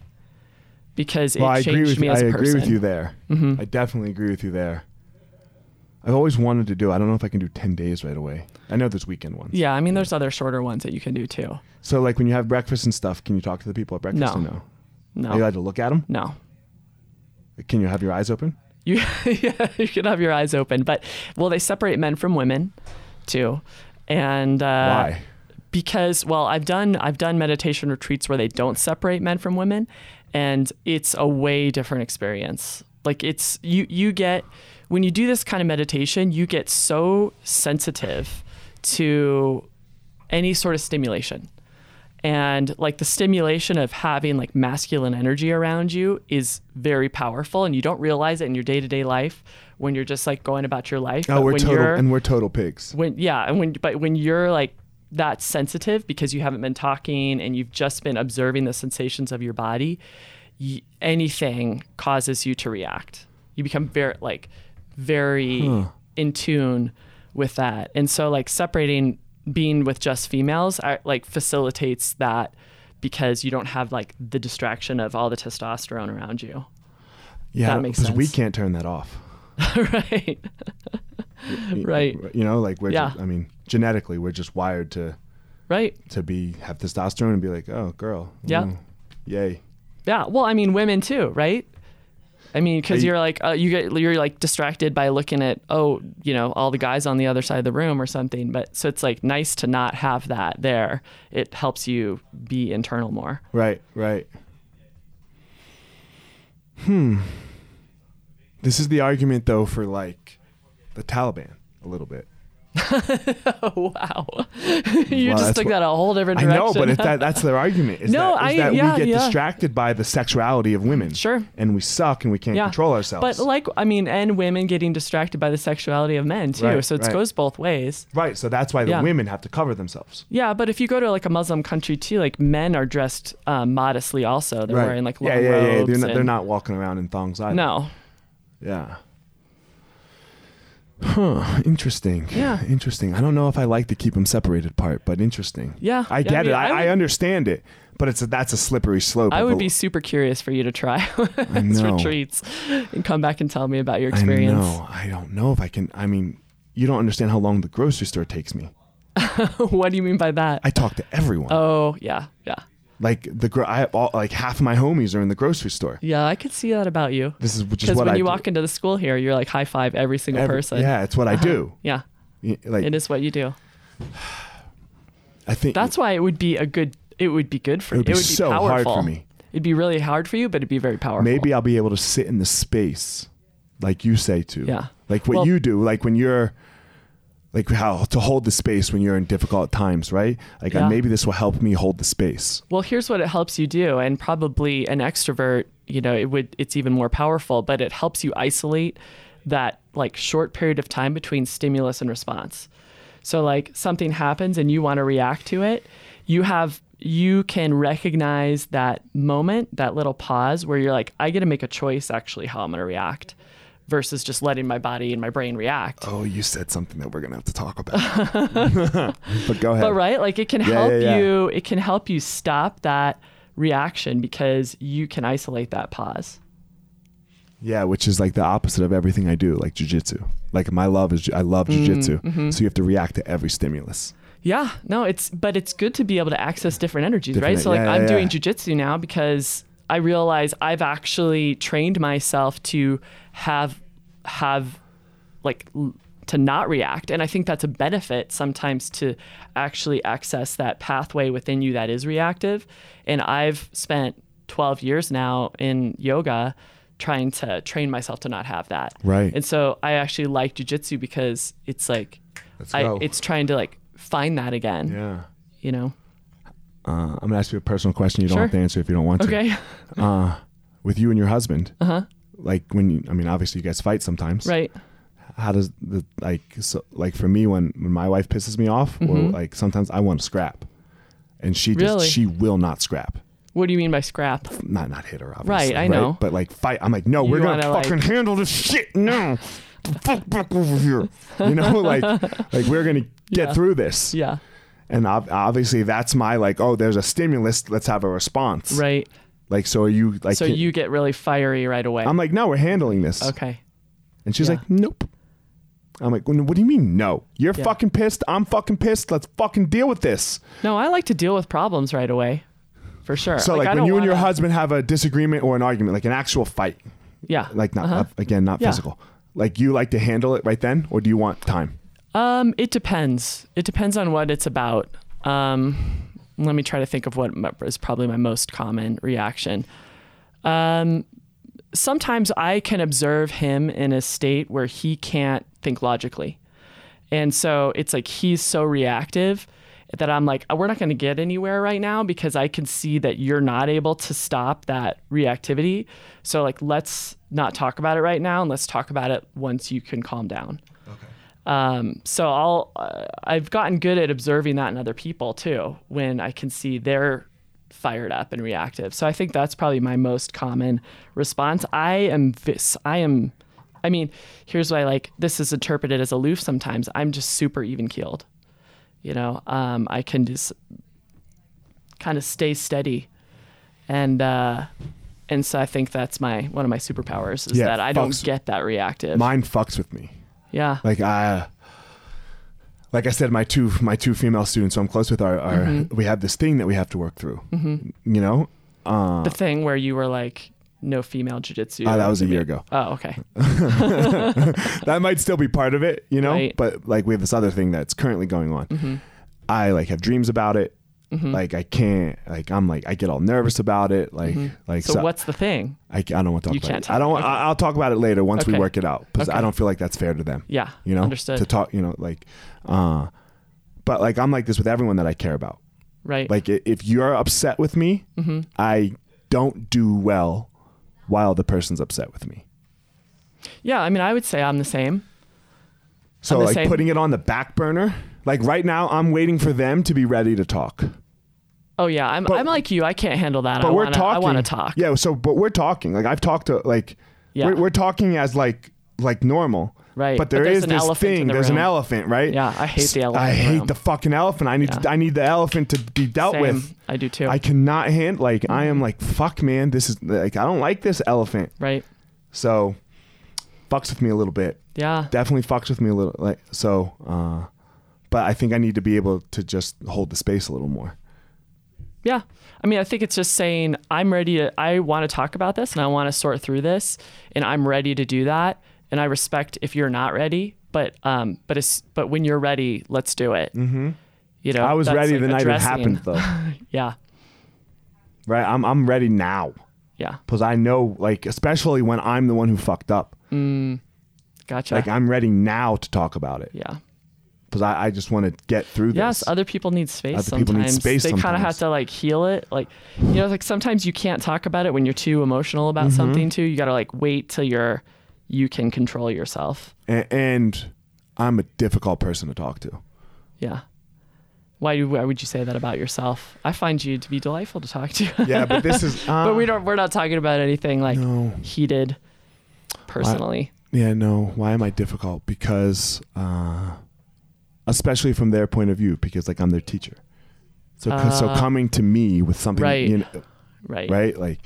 Speaker 2: Because it
Speaker 1: Well, I agree
Speaker 2: changed
Speaker 1: with
Speaker 2: me
Speaker 1: you. I
Speaker 2: as a
Speaker 1: agree
Speaker 2: person.
Speaker 1: with
Speaker 2: Mm-hmm.
Speaker 1: you there. I definitely agree with you there. I've always wanted to do. I don't know if I can do 10 days right away. I know there's weekend ones.
Speaker 2: Yeah, I mean, there's other shorter ones that you can do too.
Speaker 1: So like when you have breakfast and stuff, can you talk to the people at breakfast
Speaker 2: No.
Speaker 1: or no?
Speaker 2: No,
Speaker 1: Are you allowed to look at them?
Speaker 2: no, *laughs*
Speaker 1: Can you have your eyes open?
Speaker 2: you yeah, you can have your eyes open, but well, they separate men from women too, and uh,
Speaker 1: Why?
Speaker 2: because well i've done i've done meditation retreats where they don't separate men from women and it's a way different experience like it's you you get when you do this kind of meditation you get so sensitive to any sort of stimulation and like the stimulation of having like masculine energy around you is very powerful and you don't realize it in your day-to-day life when you're just like going about your life
Speaker 1: Oh,
Speaker 2: But
Speaker 1: we're
Speaker 2: when
Speaker 1: total
Speaker 2: you're-
Speaker 1: and we're total pigs.
Speaker 2: when yeah and when but when you're like that sensitive because you haven't been talking and you've just been observing the sensations of your body, y- anything causes you to react. You become very like very in tune with that. And so like separating being with just females I, like facilitates that because you don't have like the distraction of all the testosterone around you. *laughs*
Speaker 1: Yeah,
Speaker 2: That makes
Speaker 1: because we
Speaker 2: sense.
Speaker 1: can't turn that off.
Speaker 2: right.
Speaker 1: Y-
Speaker 2: *laughs* Right.
Speaker 1: You know, like we're.
Speaker 2: Yeah.
Speaker 1: Just, I mean, genetically, we're just wired to
Speaker 2: Right.
Speaker 1: to be have testosterone and be like, oh, girl.
Speaker 2: Yeah.
Speaker 1: mm, yay.
Speaker 2: Yeah. Well, I mean, women too, right? I mean, because
Speaker 1: I-
Speaker 2: you're like uh, you get you're like distracted by looking at oh you know all the guys on the other side of the room or something. But so it's like nice to not have that there. It helps you be internal more. *laughs*
Speaker 1: Right. Right. Hmm. This is the argument though for like the Taliban a little bit.
Speaker 2: Oh wow, *laughs* you
Speaker 1: Wow,
Speaker 2: just
Speaker 1: that's
Speaker 2: took
Speaker 1: what-
Speaker 2: that a whole different
Speaker 1: I
Speaker 2: direction.
Speaker 1: know, but it's
Speaker 2: *laughs*
Speaker 1: that, that's their argument. Is
Speaker 2: No,
Speaker 1: that, is
Speaker 2: I-
Speaker 1: that
Speaker 2: yeah,
Speaker 1: we get
Speaker 2: yeah.
Speaker 1: distracted by the sexuality of women.
Speaker 2: Sure.
Speaker 1: And we suck and we can't control ourselves.
Speaker 2: But like I mean, and women getting distracted by the sexuality of men too.
Speaker 1: Right,
Speaker 2: so it
Speaker 1: right.
Speaker 2: goes both ways.
Speaker 1: right. So that's why the
Speaker 2: Yeah.
Speaker 1: women have to cover themselves.
Speaker 2: Yeah, but if you go to like a Muslim country too, like men are dressed um, modestly. Also, they're wearing like long
Speaker 1: yeah, yeah, yeah,
Speaker 2: robes.
Speaker 1: yeah. They're not, they're
Speaker 2: and-
Speaker 1: not walking around in thongs either.
Speaker 2: No,
Speaker 1: Yeah. Huh. Interesting.
Speaker 2: Yeah.
Speaker 1: Interesting. I don't know if I like the keep them separated part, but interesting.
Speaker 2: Yeah.
Speaker 1: I
Speaker 2: Yeah,
Speaker 1: get
Speaker 2: I mean,
Speaker 1: it. I,
Speaker 2: I
Speaker 1: I,
Speaker 2: would-
Speaker 1: understand it, but it's a, that's a slippery slope.
Speaker 2: I
Speaker 1: of
Speaker 2: would
Speaker 1: a-
Speaker 2: be super curious for you to try *laughs* these
Speaker 1: know.
Speaker 2: retreats and come back and tell me about your
Speaker 1: I
Speaker 2: experience.
Speaker 1: know. I don't know if I can. I mean, you don't understand how long the grocery store takes me.
Speaker 2: *laughs* what do you mean by that?
Speaker 1: I talk to everyone.
Speaker 2: oh, yeah, yeah,
Speaker 1: Like the gro- I all, like half my homies are in the grocery store.
Speaker 2: yeah. I could see that about you.
Speaker 1: This is which is
Speaker 2: Because
Speaker 1: what
Speaker 2: when
Speaker 1: I
Speaker 2: you
Speaker 1: do.
Speaker 2: walk into the school here, you're like high five every single
Speaker 1: Every-
Speaker 2: person.
Speaker 1: Yeah, it's what I do.
Speaker 2: *laughs* yeah.
Speaker 1: Y- Like
Speaker 2: It is what you do.
Speaker 1: I think
Speaker 2: That's why it would be a good. It would be good for.
Speaker 1: It would
Speaker 2: you.
Speaker 1: be
Speaker 2: it would be
Speaker 1: so
Speaker 2: powerful.
Speaker 1: hard for me.
Speaker 2: It'd be really hard for you, but it'd be very powerful.
Speaker 1: maybe I'll be able to sit in the space like you say to.
Speaker 2: Yeah.
Speaker 1: Like what
Speaker 2: Well-
Speaker 1: you do, like when you're like how to hold the space when you're in difficult times, right? Like uh,
Speaker 2: Yeah.
Speaker 1: maybe this will help me hold the space.
Speaker 2: Well, here's what it helps you do, and probably an extrovert, you know, it would it's even more powerful, but it helps you isolate that like short period of time between stimulus and response. So like something happens and you want to react to it, you have you can recognize that moment, that little pause where you're like, I got to make a choice actually how I'm going to react versus just letting my body and my brain react.
Speaker 1: Oh, you said something that we're gonna have to talk about.
Speaker 2: *laughs*
Speaker 1: but go ahead.
Speaker 2: But right, like it can help
Speaker 1: yeah, yeah.
Speaker 2: you. It can help you stop that reaction because you can isolate that pause.
Speaker 1: Yeah, which is like the opposite of everything I do, like jujitsu. Like my love is ju- I love
Speaker 2: Mm-hmm,
Speaker 1: jujitsu. So you have to react to every stimulus.
Speaker 2: Yeah, no, it's but it's good to be able to access different energies,
Speaker 1: Different- e-,
Speaker 2: right? So like
Speaker 1: yeah,
Speaker 2: I'm
Speaker 1: yeah,
Speaker 2: doing
Speaker 1: yeah.
Speaker 2: jujitsu now because I realize I've actually trained myself to have have like l- to not react, and I think that's a benefit sometimes to actually access that pathway within you that is reactive. And I've spent 12 years now in yoga trying to train myself to not have that.
Speaker 1: Right.
Speaker 2: And so I actually like jujitsu because it's like
Speaker 1: Let's
Speaker 2: I,
Speaker 1: go.
Speaker 2: it's trying to like find that again.
Speaker 1: yeah.
Speaker 2: You know.
Speaker 1: Uh, I'm gonna ask you a personal question. You don't
Speaker 2: Sure.
Speaker 1: have to answer if you don't want to. *laughs*
Speaker 2: Okay.
Speaker 1: With you and your husband, uh-huh. like when you, I mean, obviously you guys fight sometimes.
Speaker 2: right.
Speaker 1: How does the like so, like for me when when my wife pisses me off, or like sometimes I want to scrap, and she just
Speaker 2: Mm-hmm. Really?
Speaker 1: she will not scrap.
Speaker 2: What do you mean by scrap?
Speaker 1: Not not hit her obviously.
Speaker 2: I know.
Speaker 1: But like fight, I'm like no, we're gonna
Speaker 2: wanna, like-
Speaker 1: fucking handle this shit
Speaker 2: *laughs*
Speaker 1: now. The Fuck back over here. You know, *laughs* like like we're gonna get
Speaker 2: Yeah.
Speaker 1: through this.
Speaker 2: Yeah.
Speaker 1: And ob- obviously that's my like oh there's a stimulus, let's have a response.
Speaker 2: Right.
Speaker 1: Like so are you like
Speaker 2: So
Speaker 1: can-
Speaker 2: you get really fiery right away.
Speaker 1: I'm like, no, we're handling this.
Speaker 2: okay.
Speaker 1: And she's
Speaker 2: Yeah.
Speaker 1: like, nope. I'm like, what do you mean, no? You're
Speaker 2: Yeah.
Speaker 1: fucking pissed. I'm fucking pissed. Let's fucking deal with this.
Speaker 2: No, I like to deal with problems right away. For sure.
Speaker 1: So, like,
Speaker 2: I
Speaker 1: when
Speaker 2: don't
Speaker 1: you and your
Speaker 2: wanna-
Speaker 1: husband have a disagreement or an argument, like an actual fight,
Speaker 2: Yeah.
Speaker 1: like not, not- again, not
Speaker 2: Uh-huh. Yeah.
Speaker 1: physical, like you like to handle it right then, or do you want time?
Speaker 2: Um, it depends. It depends on what it's about. Um, let me try to think of what my- is probably my most common reaction. Um, sometimes I can observe him in a state where he can't think logically. And so it's like he's so reactive that I'm like, "Oh, we're not going to get anywhere right now because I can see that you're not able to stop that reactivity. So, like, let's not talk about it right now and let's talk about it once you can calm down. Um, so I'll uh, I've gotten good at observing that in other people too when I can see they're fired up and reactive. So I think that's probably my most common response. I am this I am I mean, here's why like this is interpreted as aloof sometimes. I'm just super even keeled. You know, um, I can just kind of stay steady and uh and so I think that's my one of my superpowers is
Speaker 1: Yeah,
Speaker 2: that I don't
Speaker 1: fucks-
Speaker 2: get that reactive.
Speaker 1: Mine fucks with me.
Speaker 2: yeah.
Speaker 1: Like I, like I said, my two my two female students who I'm close with are, are
Speaker 2: Mm-hmm.
Speaker 1: we have this thing that we have to work through. You know,
Speaker 2: the thing where you were like no female jiu-jitsu.
Speaker 1: Uh, that was a year ago.
Speaker 2: Oh, okay.
Speaker 1: that might still be part of it, you know.
Speaker 2: Right. Mm-hmm.
Speaker 1: But like we have this other thing that's currently going on. I like have dreams about it. Like I can't. Like I'm like I get all nervous about it. Like like
Speaker 2: Mm-hmm. So, what's the thing?
Speaker 1: I, I don't want to talk
Speaker 2: You
Speaker 1: about
Speaker 2: can't
Speaker 1: it.
Speaker 2: talk
Speaker 1: I don't.
Speaker 2: about it.
Speaker 1: I, I'll talk about it later once we
Speaker 2: Okay.
Speaker 1: work it out because I
Speaker 2: Okay.
Speaker 1: don't feel like that's fair to them.
Speaker 2: Yeah.
Speaker 1: You know.
Speaker 2: Understood.
Speaker 1: To talk. You know. Like. uh But like I'm like this with everyone that I care about.
Speaker 2: right.
Speaker 1: Like i- if you're upset with me,
Speaker 2: Mm-hmm.
Speaker 1: I don't do well while the person's upset with me.
Speaker 2: yeah. I mean, I would say I'm the same.
Speaker 1: So
Speaker 2: I'm the
Speaker 1: like
Speaker 2: same.
Speaker 1: putting it on the back burner. Like right now, I'm waiting for them to be ready to talk.
Speaker 2: Oh yeah. I'm, I'm like you. I can't handle that.
Speaker 1: But
Speaker 2: I
Speaker 1: we're
Speaker 2: wanna,
Speaker 1: talking.
Speaker 2: I want to talk.
Speaker 1: Yeah. So but we're talking. Like I've talked to like.
Speaker 2: Yeah.
Speaker 1: We're, we're talking as like like normal.
Speaker 2: Right.
Speaker 1: But
Speaker 2: But
Speaker 1: there
Speaker 2: there's
Speaker 1: is
Speaker 2: an
Speaker 1: this
Speaker 2: elephant in
Speaker 1: thing.
Speaker 2: the
Speaker 1: there's an
Speaker 2: room.
Speaker 1: elephant, right?
Speaker 2: Yeah, I hate the
Speaker 1: S-
Speaker 2: elephant
Speaker 1: I
Speaker 2: in the
Speaker 1: hate
Speaker 2: room.
Speaker 1: the fucking elephant. I need
Speaker 2: Yeah.
Speaker 1: I need the elephant to be dealt
Speaker 2: Same. Mm-hmm.
Speaker 1: with.
Speaker 2: I do too.
Speaker 1: I cannot handle like I am like fuck man. This is like I don't like this elephant.
Speaker 2: right.
Speaker 1: So fucks with me a little bit.
Speaker 2: Yeah.
Speaker 1: Definitely fucks with me a little like so uh but I think I need to be able to just hold the space a little more.
Speaker 2: Yeah. I mean, I think it's just saying I'm ready to I want to talk about this and I want to sort through this and I'm ready to do that and I respect if you're not ready, but um but it's but when you're ready, let's do it. Mhm. You know.
Speaker 1: Mm-hmm. I was
Speaker 2: that's
Speaker 1: ready
Speaker 2: like
Speaker 1: the night it
Speaker 2: addressing-
Speaker 1: happened
Speaker 2: *laughs*
Speaker 1: though.
Speaker 2: Yeah.
Speaker 1: right? I'm I'm ready now
Speaker 2: Yeah.
Speaker 1: cuz I know like especially when I'm the one who fucked up.
Speaker 2: Gotcha.
Speaker 1: Like I'm ready now to talk about it
Speaker 2: yeah.
Speaker 1: cuz I, I just want to get through this.
Speaker 2: Yes, uh other people need space
Speaker 1: Other
Speaker 2: sometimes.
Speaker 1: people need space
Speaker 2: they kind of
Speaker 1: sometimes.
Speaker 2: have to like heal it. Like, you know, like sometimes you can't talk about it when you're too emotional
Speaker 1: Mm-hmm.
Speaker 2: about something too. You got to like wait till you're you can control yourself.
Speaker 1: and, and I'm a difficult person to talk
Speaker 2: *laughs*
Speaker 1: to.
Speaker 2: Yeah. Why, do- why would you say that about yourself? I find you to be delightful to talk to. *laughs*
Speaker 1: Yeah, but this is uh,
Speaker 2: but we don't we're not talking about anything like
Speaker 1: No.
Speaker 2: heated personally.
Speaker 1: Yeah, no. Why am I difficult? Because, uh, especially from their point of view, because like I'm their teacher. So, so
Speaker 2: Uh,
Speaker 1: coming to me with something,
Speaker 2: right.
Speaker 1: you know,
Speaker 2: right.
Speaker 1: right? Like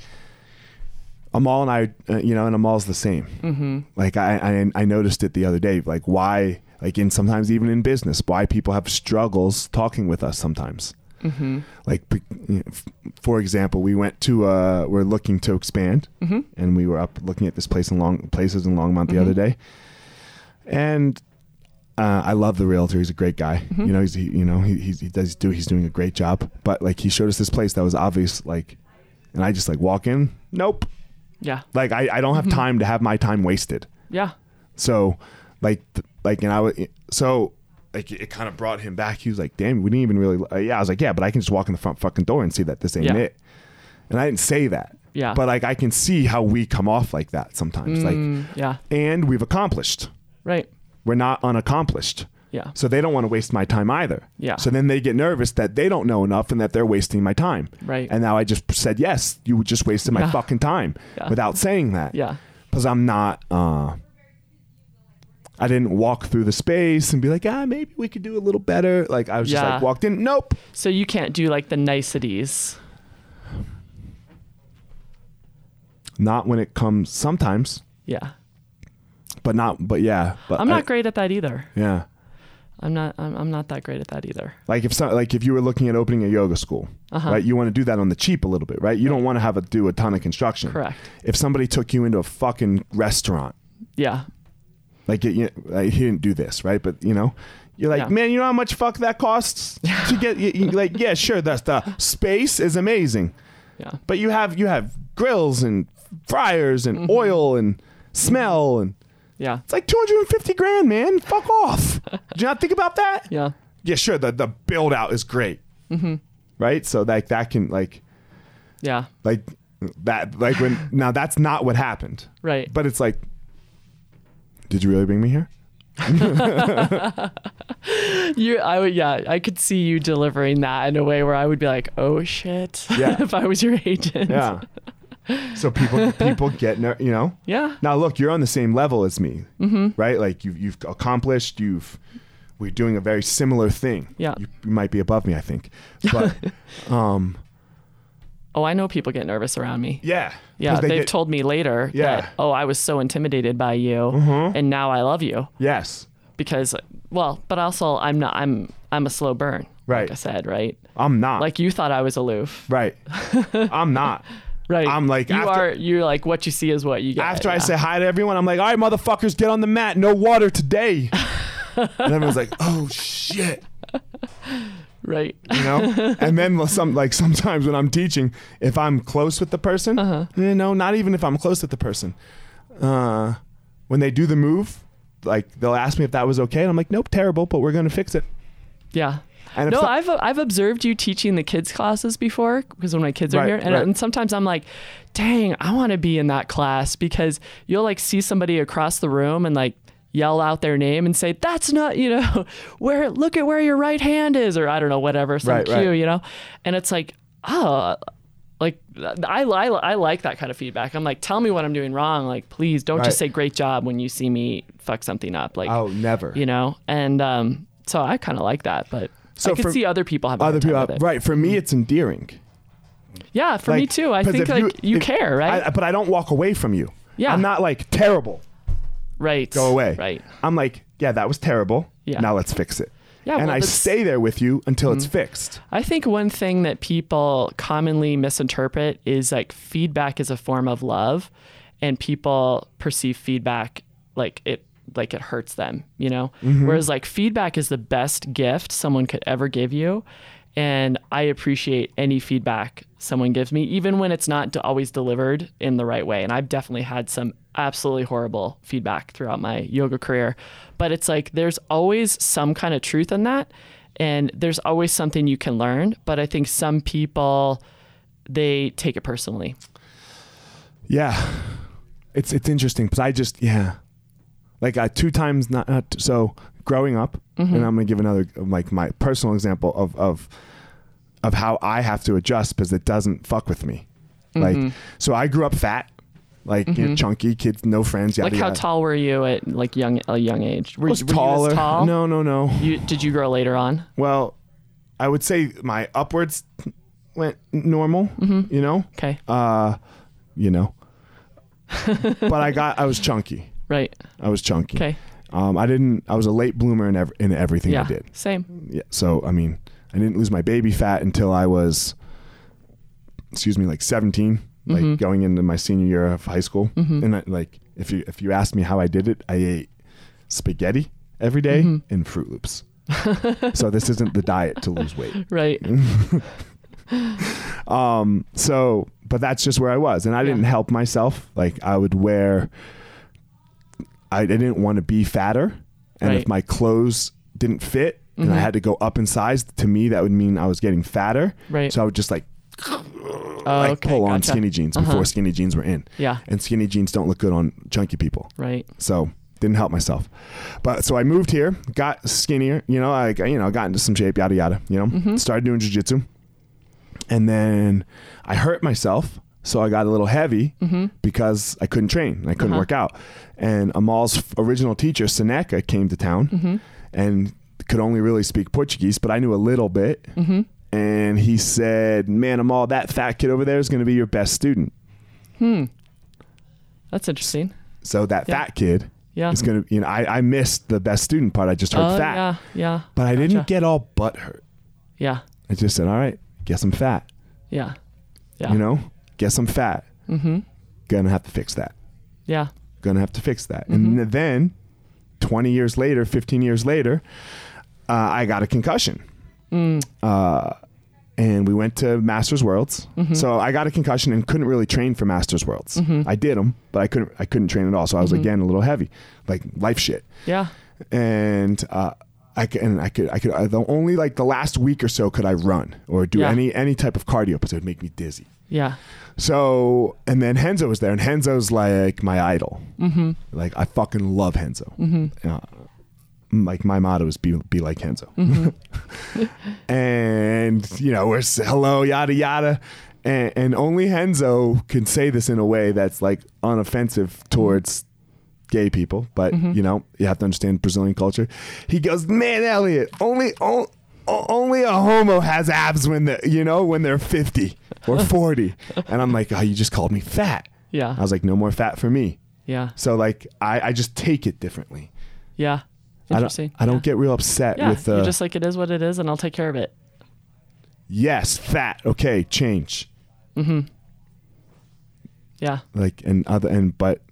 Speaker 1: Amal and I, uh, you know, and Amal's the same. Mm-hmm. Like I, I, I noticed it the other day. Like why, like in sometimes even in business, why people have struggles talking with us sometimes.
Speaker 2: hmm
Speaker 1: Like, be- you know, f- for example, we went to, uh, we're looking to expand
Speaker 2: hmm
Speaker 1: and we were up looking at this place in long places in Longmont the
Speaker 2: Mhm.
Speaker 1: other day, and uh, I love the realtor. He's a great guy.
Speaker 2: Mhm.
Speaker 1: You know, he's he, you know he, he's, he does do he's doing a great job. But like he showed us this place that was obvious like, and I just like walk in. Nope.
Speaker 2: Yeah.
Speaker 1: Like I, I don't have time to have my time wasted.
Speaker 2: Yeah.
Speaker 1: So, like th- like and I was so. Like it kind of brought him back. He was like, "Damn, we didn't even really." Uh, yeah, I was like, "Yeah, but I can just walk in the front fucking door and see that this ain't
Speaker 2: Yeah.
Speaker 1: it." And I didn't say that.
Speaker 2: Yeah.
Speaker 1: But like I can see how we come off like that sometimes. Like
Speaker 2: Mm, yeah.
Speaker 1: and we've accomplished.
Speaker 2: Right.
Speaker 1: We're not unaccomplished.
Speaker 2: Yeah.
Speaker 1: So they don't want to waste my time either.
Speaker 2: Yeah.
Speaker 1: So then they get nervous that they don't know enough and that they're wasting my time.
Speaker 2: Right.
Speaker 1: And now I just said yes, you just wasted my
Speaker 2: Yeah.
Speaker 1: fucking time
Speaker 2: Yeah.
Speaker 1: without saying that.
Speaker 2: Yeah.
Speaker 1: Because I'm not uh I didn't walk through the space and be like, ah, maybe we could do a little better. Like I was just
Speaker 2: Yeah.
Speaker 1: like walked in. Nope.
Speaker 2: So you can't do like the niceties.
Speaker 1: Not when it comes sometimes.
Speaker 2: Yeah.
Speaker 1: But not but yeah. But
Speaker 2: I'm
Speaker 1: I-
Speaker 2: not great at that either.
Speaker 1: Yeah.
Speaker 2: I'm not. I'm, I'm not that great at that either.
Speaker 1: Like if some, like if you were looking at opening a yoga school,
Speaker 2: Uh-huh.
Speaker 1: right? You want to do that on the cheap a little bit, right? You don't want to have a do a ton of construction.
Speaker 2: Correct.
Speaker 1: If somebody took you into a fucking restaurant,
Speaker 2: Yeah.
Speaker 1: like, it, you, like he didn't do this, right? But you know, you're like,
Speaker 2: Yeah.
Speaker 1: man, you know how much fuck that costs
Speaker 2: *laughs*
Speaker 1: to get? You, you- like, yeah, sure, that's the space is amazing,
Speaker 2: Yeah.
Speaker 1: but you have you have grills and fryers
Speaker 2: Mm-hmm.
Speaker 1: and oil and smell and
Speaker 2: Yeah.
Speaker 1: it's like 250 grand, man. Fuck
Speaker 2: *laughs*
Speaker 1: off. Did you not think about that?
Speaker 2: Yeah. Mm-hmm.
Speaker 1: yeah, sure, the the build out is great, right? So like that can like
Speaker 2: Yeah.
Speaker 1: like that like when now that's not what happened,
Speaker 2: Right.
Speaker 1: but it's like, did you really bring me here?
Speaker 2: You, I would, yeah, I could see you delivering that in a way where I would be like, "Oh shit!"
Speaker 1: Yeah.
Speaker 2: *laughs* if I was your agent,
Speaker 1: Yeah. *laughs* so people people get ner- you know.
Speaker 2: yeah,
Speaker 1: Now look, you're on the same level as me, mm-hmm. right? Like you've you've accomplished. You've we're doing a very similar thing.
Speaker 2: Yeah.
Speaker 1: you, you might be above me, I think,
Speaker 2: *laughs*
Speaker 1: but um,
Speaker 2: Oh, I know people get nervous around me.
Speaker 1: yeah,
Speaker 2: Yeah,
Speaker 1: 'Cause
Speaker 2: they have
Speaker 1: get-
Speaker 2: told me later
Speaker 1: Yeah. Mm-hmm.
Speaker 2: that, oh, I was so intimidated by you, and now I love you
Speaker 1: yes.
Speaker 2: because, well, but also I'm not, I'm, I'm a slow burn.
Speaker 1: Right.
Speaker 2: Like I said, right?
Speaker 1: I'm not
Speaker 2: Like you thought I was aloof, *laughs*
Speaker 1: right. I'm not.
Speaker 2: right?
Speaker 1: I'm like,
Speaker 2: you
Speaker 1: after-
Speaker 2: are. You're like what you see is what you get.
Speaker 1: After I
Speaker 2: yeah.
Speaker 1: say hi to everyone, I'm like, all right, motherfuckers, get on the mat. No water
Speaker 2: *laughs*
Speaker 1: today. and everyone's like, oh shit.
Speaker 2: right,
Speaker 1: you
Speaker 2: *laughs*
Speaker 1: know and then some like sometimes when i'm teaching if i'm close with the person
Speaker 2: Uh-huh.
Speaker 1: you know not even if i'm close with the person uh, when they do the move like they'll ask me if that was okay and i'm like nope terrible but we're gonna fix it
Speaker 2: yeah.
Speaker 1: and if
Speaker 2: No,
Speaker 1: so-
Speaker 2: I've I've observed you teaching the kids classes before because when my kids are
Speaker 1: Right,
Speaker 2: here, and,
Speaker 1: right.
Speaker 2: and sometimes I'm like, dang, I want to be in that class because you'll like see somebody across the room and like yell out their name and say, that's not, you know, *laughs* where look at where your right hand is, or I don't know, whatever, some
Speaker 1: Right,
Speaker 2: cue,
Speaker 1: right.
Speaker 2: you know, and it's like, oh. Like I, I, I like that kind of feedback. I'm like, tell me what I'm doing wrong. Like, please don't just
Speaker 1: Right.
Speaker 2: say great job when you see me fuck something up.
Speaker 1: *laughs*
Speaker 2: Like,
Speaker 1: oh never
Speaker 2: you know and um so i kind of like that but
Speaker 1: So
Speaker 2: i could
Speaker 1: for-
Speaker 2: see other people have a
Speaker 1: other
Speaker 2: hard time
Speaker 1: people
Speaker 2: with it.
Speaker 1: right for me it's endearing
Speaker 2: yeah for me
Speaker 1: Like,
Speaker 2: too i
Speaker 1: 'cause
Speaker 2: think
Speaker 1: if
Speaker 2: like you,
Speaker 1: if-
Speaker 2: care right
Speaker 1: I- but i don't walk away from you
Speaker 2: Yeah.
Speaker 1: i'm not like terrible
Speaker 2: right
Speaker 1: go away
Speaker 2: right
Speaker 1: i'm like yeah that was terrible
Speaker 2: Yeah.
Speaker 1: now let's fix it
Speaker 2: Yeah,
Speaker 1: and
Speaker 2: well,
Speaker 1: i
Speaker 2: that's- Mm-hmm.
Speaker 1: stay there with you until it's fixed
Speaker 2: i think one thing that people commonly misinterpret is like feedback is a form of love and people perceive feedback like it like it hurts them you know whereas like feedback is the best gift someone could ever give you and i appreciate any feedback someone gives me, even when it's not de- always delivered in the right way. And I've definitely had some absolutely horrible feedback throughout my yoga career, but it's like there's always some kind of truth in that. And there's always something you can learn. But I think some people, they take it personally.
Speaker 1: Yeah, it's it's interesting because I just yeah, like I two times not, not t- so growing up,
Speaker 2: Mm-hmm.
Speaker 1: and I'm gonna give another like my personal example of of of how I have to adjust because it doesn't fuck with me.
Speaker 2: Mm-hmm.
Speaker 1: Like so, I grew up fat, like you know, chunky kids, no friends. Yada,
Speaker 2: Like how
Speaker 1: yada.
Speaker 2: tall were you at like young a young age? Were,
Speaker 1: I was
Speaker 2: you- were
Speaker 1: taller.
Speaker 2: You as tall?
Speaker 1: No, no, no.
Speaker 2: You, did you grow later on?
Speaker 1: Well, I would say my upwards went normal.
Speaker 2: Mm-hmm.
Speaker 1: You know,
Speaker 2: Okay.
Speaker 1: uh, you
Speaker 2: *laughs*
Speaker 1: know. but I got I was chunky.
Speaker 2: right.
Speaker 1: I was chunky.
Speaker 2: Okay.
Speaker 1: Um, I didn't. I was a late bloomer in ev- in everything I
Speaker 2: Yeah.
Speaker 1: did.
Speaker 2: Same.
Speaker 1: Yeah. So I mean, I didn't lose my baby fat until I was, excuse me, like 17
Speaker 2: Mm-hmm.
Speaker 1: like going into my senior year of high school. And I, like, if you if you asked me how I did it, I ate spaghetti every day
Speaker 2: Mm-hmm.
Speaker 1: and Fruit Loops. *laughs* so this isn't the diet to lose weight. *laughs*
Speaker 2: Right.
Speaker 1: Um, so, but that's just where I was, and I didn't help myself. Like I would wear, I, I didn't want to be fatter, and if
Speaker 2: Right. Mm-hmm.
Speaker 1: my clothes didn't fit and I had to go up in size, to me that would mean I was getting fatter.
Speaker 2: Right.
Speaker 1: So I would just like,
Speaker 2: Oh,
Speaker 1: like
Speaker 2: okay.
Speaker 1: pull on
Speaker 2: Gotcha. Uh-huh.
Speaker 1: skinny jeans before skinny jeans were in,
Speaker 2: Yeah.
Speaker 1: and skinny jeans don't look good on chunky people.
Speaker 2: Right.
Speaker 1: So didn't help myself, but so I moved here, got skinnier. You know, I you know got into some shape, yada yada. You know, started doing jujitsu, and then I hurt myself, so I got a little heavy because I couldn't train, and I couldn't work out. And Amal's f- original teacher Seneca came to town and could only really speak Portuguese, but I knew a little bit. And he said, "Man, Amal, that fat kid over there is going to be your best student."
Speaker 2: That's interesting.
Speaker 1: So that
Speaker 2: Yeah.
Speaker 1: fat kid
Speaker 2: Yeah.
Speaker 1: it's gonna you know I, I missed the best student part i just heard
Speaker 2: oh,
Speaker 1: fat
Speaker 2: yeah. Yeah.
Speaker 1: but i didn't
Speaker 2: Gotcha.
Speaker 1: get all butt hurt
Speaker 2: Yeah.
Speaker 1: i just said all right guess i'm fat
Speaker 2: Yeah. Yeah.
Speaker 1: you know guess i'm fat mm-hmm. gonna have to fix that
Speaker 2: Yeah.
Speaker 1: gonna have to fix that
Speaker 2: Mm-hmm.
Speaker 1: and then 20 years later 15 years later uh, i got a concussion
Speaker 2: Mm.
Speaker 1: uh, and we went to masters worlds
Speaker 2: Mm-hmm.
Speaker 1: so i got a concussion and couldn't really train for masters worlds i did them but i couldn't i couldn't train at all so i was
Speaker 2: Mm-hmm.
Speaker 1: again a little heavy like life shit
Speaker 2: Yeah.
Speaker 1: and uh, I could, and I could, I could. I, the only like the last week or so could I run or do
Speaker 2: Yeah.
Speaker 1: any any type of cardio because it would make me dizzy.
Speaker 2: Yeah.
Speaker 1: So and then Henzo was there, and Henzo's like my idol. Mm-hmm. Like I fucking love Henzo. Uh, like my motto is be, be like Kenzo. *laughs* and, you know, we're s- hello, yada, yada. And, and only Henzo can say this in a way that's like unoffensive towards gay people, but
Speaker 2: Mm-hmm.
Speaker 1: you know, you have to understand Brazilian culture. He goes, "Man, Elliot, only on, o- only a homo has abs when the you know when they're 50
Speaker 2: *laughs*
Speaker 1: or 40." and I'm like, "Oh, you just called me fat."
Speaker 2: Yeah.
Speaker 1: I was like, "No more fat for me."
Speaker 2: yeah.
Speaker 1: So like, I I just take it differently.
Speaker 2: Yeah.
Speaker 1: I
Speaker 2: Interesting.
Speaker 1: don't I don't
Speaker 2: yeah.
Speaker 1: get real upset
Speaker 2: Yeah.
Speaker 1: with uh,
Speaker 2: You're just like it is what it is, and I'll take care of it.
Speaker 1: yes, fat. Okay, change.
Speaker 2: Yeah.
Speaker 1: Like and other and but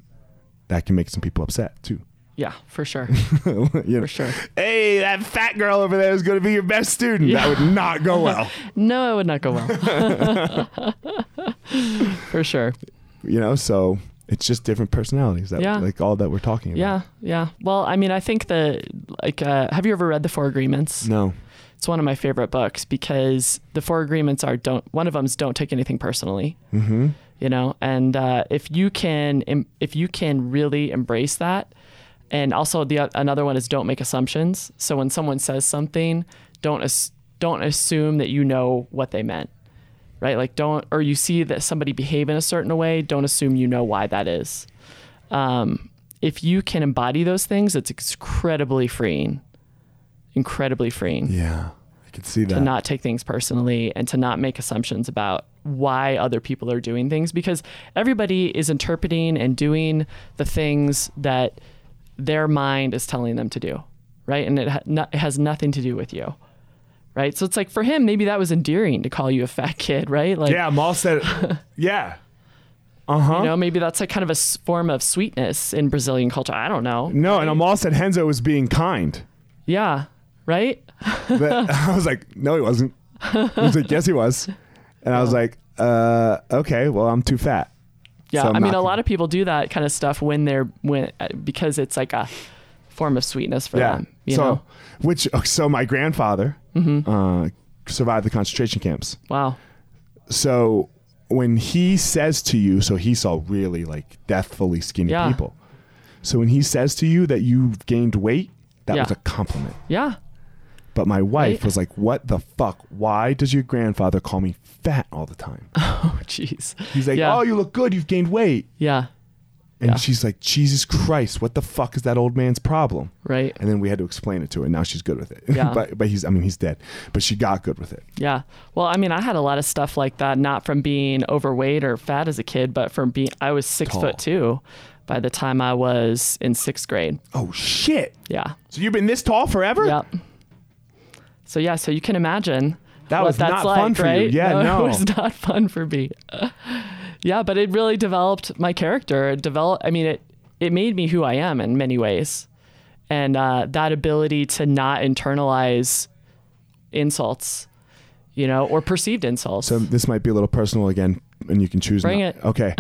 Speaker 1: that can make some people upset too. *laughs*
Speaker 2: Yeah. For sure.
Speaker 1: you know,
Speaker 2: For sure.
Speaker 1: Hey, that fat girl over there is going to be your best student. That would not go well.
Speaker 2: No, it would not go well. *laughs* For sure.
Speaker 1: you know so it's just different personalities that
Speaker 2: Yeah.
Speaker 1: like all that we're talking about
Speaker 2: Yeah. Yeah. Well, I mean, I think that like, uh, have you ever read the Four Agreements?
Speaker 1: no
Speaker 2: It's one of my favorite books because the four agreements are don't one of them's don't take anything personally. Mm-hmm. You know, and uh, if you can em- if you can really embrace that, and also the o- another one is don't make assumptions. So when someone says something, don't as- don't assume that you know what they meant. Right? Like don't or you see that somebody behave in a certain way, don't assume you know why that is. Um, if you can embody those things, it's incredibly freeing. Incredibly freeing
Speaker 1: yeah i could see
Speaker 2: to
Speaker 1: that
Speaker 2: not take things personally and to not make assumptions about why other people are doing things because everybody is interpreting and doing the things that their mind is telling them to do, right? And it, ha- no, it has nothing to do with you, right? So it's like for him, maybe that was endearing to call you a fat kid, right? Like,
Speaker 1: yeah Maul
Speaker 2: *laughs*
Speaker 1: said yeah
Speaker 2: you know, maybe that's a kind of a s- form of sweetness in Brazilian culture. I don't know.
Speaker 1: no and Amal said henzo was being kind
Speaker 2: Yeah, right? *laughs*
Speaker 1: But *laughs* i was like no he wasn't he was like yes he was and i was like uh okay well i'm too fat
Speaker 2: Yeah,
Speaker 1: So I'm
Speaker 2: I mean,
Speaker 1: not
Speaker 2: a
Speaker 1: gonna-
Speaker 2: lot of people do that kind of stuff when they're when uh, because it's like a form of sweetness for
Speaker 1: yeah
Speaker 2: them. You
Speaker 1: so
Speaker 2: know? Mm-hmm.
Speaker 1: which oh, so my grandfather uh survived the concentration camps
Speaker 2: Wow.
Speaker 1: so when he says to you, so he saw really like deathfully skinny
Speaker 2: Yeah.
Speaker 1: people. So when he says to you that you've gained weight, that
Speaker 2: Yeah.
Speaker 1: was a compliment.
Speaker 2: Yeah.
Speaker 1: But my wife
Speaker 2: Right.
Speaker 1: was like, "What the fuck? Why does your grandfather call me fat all the
Speaker 2: *laughs*
Speaker 1: time?"
Speaker 2: Oh, jeez.
Speaker 1: He's like,
Speaker 2: Yeah.
Speaker 1: "Oh, you look good. You've gained weight."
Speaker 2: Yeah.
Speaker 1: And
Speaker 2: Yeah.
Speaker 1: she's like, "Jesus Christ, what the fuck is that old man's problem?"
Speaker 2: Right.
Speaker 1: And then we had to explain it to her. Now she's good with it. *laughs*
Speaker 2: Yeah.
Speaker 1: but but he's I mean he's dead, but she got good with it.
Speaker 2: Yeah. Well, I mean, I had a lot of stuff like that, not from being overweight or fat as a kid, but from being I was six
Speaker 1: Tall.
Speaker 2: foot two by the time I was in sixth grade.
Speaker 1: Oh shit!
Speaker 2: Yeah.
Speaker 1: So you've been this tall forever?
Speaker 2: Yep. *laughs* So yeah, so you can imagine
Speaker 1: That
Speaker 2: what
Speaker 1: was
Speaker 2: that's
Speaker 1: not
Speaker 2: like,
Speaker 1: fun for you.
Speaker 2: right? *laughs*
Speaker 1: Yeah, no.
Speaker 2: it was not fun for me. *laughs* yeah, but it really developed my character. It developed. I mean, it it made me who I am in many ways, and uh, that ability to not internalize insults, you know, or perceived insults.
Speaker 1: So this might be a little personal again, and you can choose.
Speaker 2: Bring
Speaker 1: not-
Speaker 2: it. *laughs*
Speaker 1: Okay.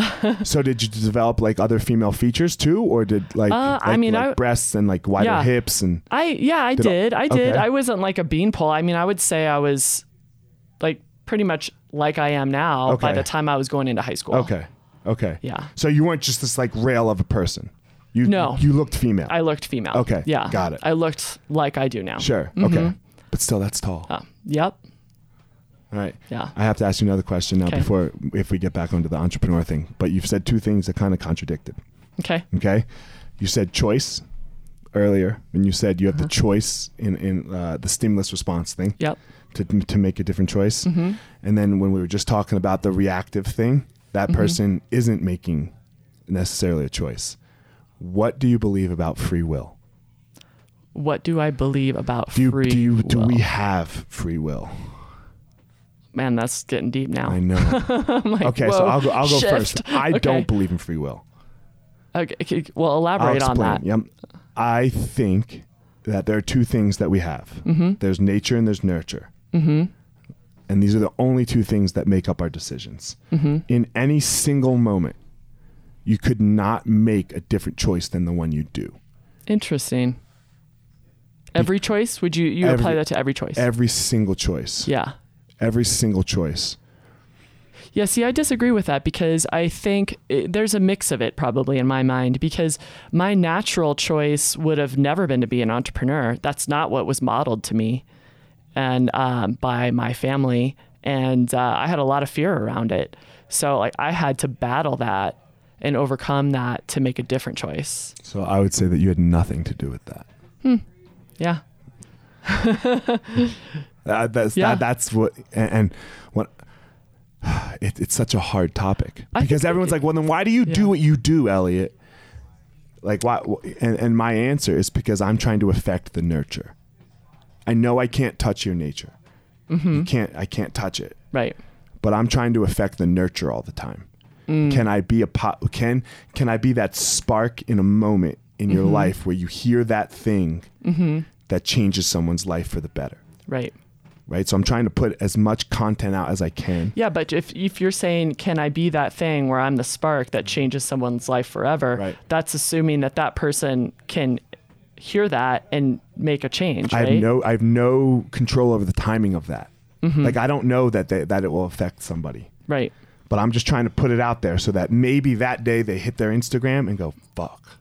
Speaker 1: so did you develop like other female features too, or did like,
Speaker 2: Uh,
Speaker 1: like
Speaker 2: I mean,
Speaker 1: like
Speaker 2: I-
Speaker 1: breasts and like wider
Speaker 2: Yeah.
Speaker 1: hips and
Speaker 2: I yeah, I
Speaker 1: Did
Speaker 2: did.
Speaker 1: I-
Speaker 2: I did.
Speaker 1: okay.
Speaker 2: I wasn't like a beanpole. I mean, I would say I was like pretty much like I am now by
Speaker 1: Okay.
Speaker 2: the time I was going into high school.
Speaker 1: okay, okay.
Speaker 2: Yeah.
Speaker 1: So you weren't just this like rail of a person. You
Speaker 2: No.
Speaker 1: You looked female.
Speaker 2: I looked female.
Speaker 1: Okay,
Speaker 2: Yeah.
Speaker 1: got it.
Speaker 2: I looked like I do now.
Speaker 1: sure. Okay. But still, that's tall.
Speaker 2: Mm-hmm. Uh, yep.
Speaker 1: All right.
Speaker 2: Yeah.
Speaker 1: I have to ask you another question now
Speaker 2: Okay.
Speaker 1: before if we get back onto the entrepreneur thing. But you've said two things that kind of contradicted.
Speaker 2: Okay.
Speaker 1: Okay. You said choice earlier, and you said you have the
Speaker 2: Uh-huh.
Speaker 1: choice in in uh, the stimulus response thing.
Speaker 2: Yep.
Speaker 1: to, to make a different choice.
Speaker 2: Mm-hmm.
Speaker 1: And then when we were just talking about the reactive thing, that
Speaker 2: Mm-hmm.
Speaker 1: person isn't making necessarily a choice. What do you believe about free will?
Speaker 2: What do I believe about
Speaker 1: Do you,
Speaker 2: free
Speaker 1: do, you, do
Speaker 2: will?
Speaker 1: we have free will?
Speaker 2: Man, that's getting deep now.
Speaker 1: I
Speaker 2: *laughs*
Speaker 1: know. okay, so
Speaker 2: whoa,
Speaker 1: I'll go, I'll go
Speaker 2: shift.
Speaker 1: first. I
Speaker 2: Okay.
Speaker 1: don't believe in free will.
Speaker 2: *laughs* Okay, okay, well,
Speaker 1: I'll
Speaker 2: elaborate on
Speaker 1: explain.
Speaker 2: that.
Speaker 1: Yep. I think that there are two things that we have.
Speaker 2: Mm-hmm.
Speaker 1: There's nature and there's nurture. And these are the only two things that make up our decisions.
Speaker 2: Mm-hmm.
Speaker 1: In any single moment, you could not make a different choice than the one you do.
Speaker 2: Interesting. Every choice? Would you you
Speaker 1: Every-
Speaker 2: apply that to every choice?
Speaker 1: Every single choice.
Speaker 2: yeah.
Speaker 1: Every single choice.
Speaker 2: Yeah, see, I disagree with that because I think it, there's a mix of it probably in my mind because my natural choice would have never been to be an entrepreneur. That's not what was modeled to me and um, by my family. And uh, I had a lot of fear around it. So like I had to battle that and overcome that to make a different choice.
Speaker 1: So I would say that you had nothing to do with that.
Speaker 2: Yeah.
Speaker 1: Uh, that's
Speaker 2: Yeah.
Speaker 1: that, that's what and, and what *sighs* it, it's such a hard topic
Speaker 2: I
Speaker 1: because
Speaker 2: think-
Speaker 1: everyone's like, well, then why do you
Speaker 2: Yeah.
Speaker 1: do what you do, Elliot? Like why? wh- And, and my answer is because I'm trying to affect the nurture. I know I can't touch your nature.
Speaker 2: Mm-hmm.
Speaker 1: You can't. I can't touch it.
Speaker 2: Right.
Speaker 1: But I'm trying to affect the nurture all the time.
Speaker 2: Mm.
Speaker 1: Can I be a pot? Can can I be that spark in a moment in your
Speaker 2: Mm-hmm.
Speaker 1: life where you hear that thing that changes someone's life for the better?
Speaker 2: Right.
Speaker 1: right? So I'm trying to put as much content out as I can.
Speaker 2: Yeah, but if if you're saying, "Can I be that thing where I'm the spark that changes someone's life forever?"
Speaker 1: Mm-hmm. Right.
Speaker 2: That's assuming that that person can hear that and make a change.
Speaker 1: I
Speaker 2: Right?
Speaker 1: have no I have no control over the timing of that.
Speaker 2: Mm-hmm.
Speaker 1: Like I don't know that they, that it will affect somebody,
Speaker 2: right.
Speaker 1: but I'm just trying to put it out there so that maybe that day they hit their Instagram and go fuck.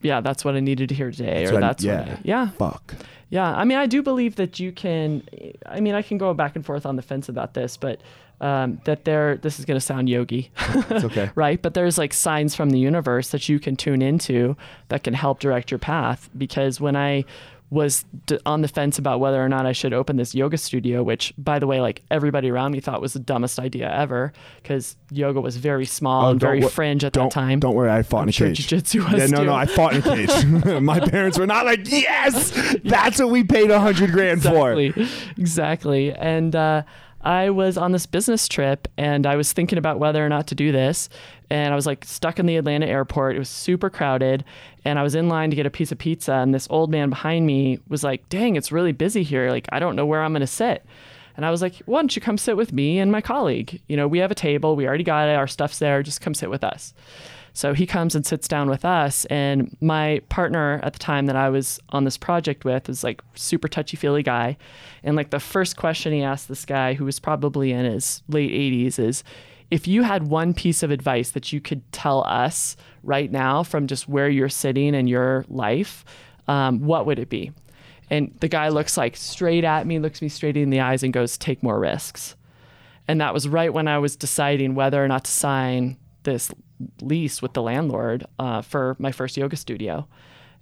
Speaker 2: Yeah, that's what I needed to hear today, or
Speaker 1: what I-
Speaker 2: that's
Speaker 1: yeah.
Speaker 2: what I, yeah,
Speaker 1: Fuck.
Speaker 2: yeah. I mean, I do believe that you can. I mean, I can go back and forth on the fence about this, but um, that there. This is going to sound yogi. *laughs*
Speaker 1: It's okay.
Speaker 2: right? But there's like signs from the universe that you can tune into that can help direct your path. Because when I was d- on the fence about whether or not I should open this yoga studio, which by the way, like everybody around me thought was the dumbest idea ever, because yoga was very small
Speaker 1: Oh,
Speaker 2: and
Speaker 1: don't
Speaker 2: very
Speaker 1: wor-
Speaker 2: fringe at
Speaker 1: don't,
Speaker 2: that time.
Speaker 1: Don't worry, I fought in a
Speaker 2: sure
Speaker 1: cage.
Speaker 2: jiu-jitsu
Speaker 1: yeah,
Speaker 2: was
Speaker 1: no, no,
Speaker 2: too.
Speaker 1: I fought in a
Speaker 2: *laughs*
Speaker 1: cage. *laughs* My parents were not like, yes, that's what we paid a hundred grand for.
Speaker 2: exactly. Exactly. And uh, I was on this business trip and I was thinking about whether or not to do this. And I was like stuck in the Atlanta airport. It was super crowded. And I was in line to get a piece of pizza. And this old man behind me was like, dang, it's really busy here. Like, I don't know where I'm going to sit. And I was like, why don't you come sit with me and my colleague? You know, we have a table, we already got it, our stuff's there, just come sit with us. So he comes and sits down with us. And my partner at the time that I was on this project with was like super touchy feely guy. And like the first question he asked this guy, who was probably in his late 80s, is if you had one piece of advice that you could tell us right now from just where you're sitting in your life, um, what would it be? And the guy looks like straight at me, looks me straight in the eyes, and goes, Take more risks. And that was right when I was deciding whether or not to sign this lease with the landlord uh, for my first yoga studio.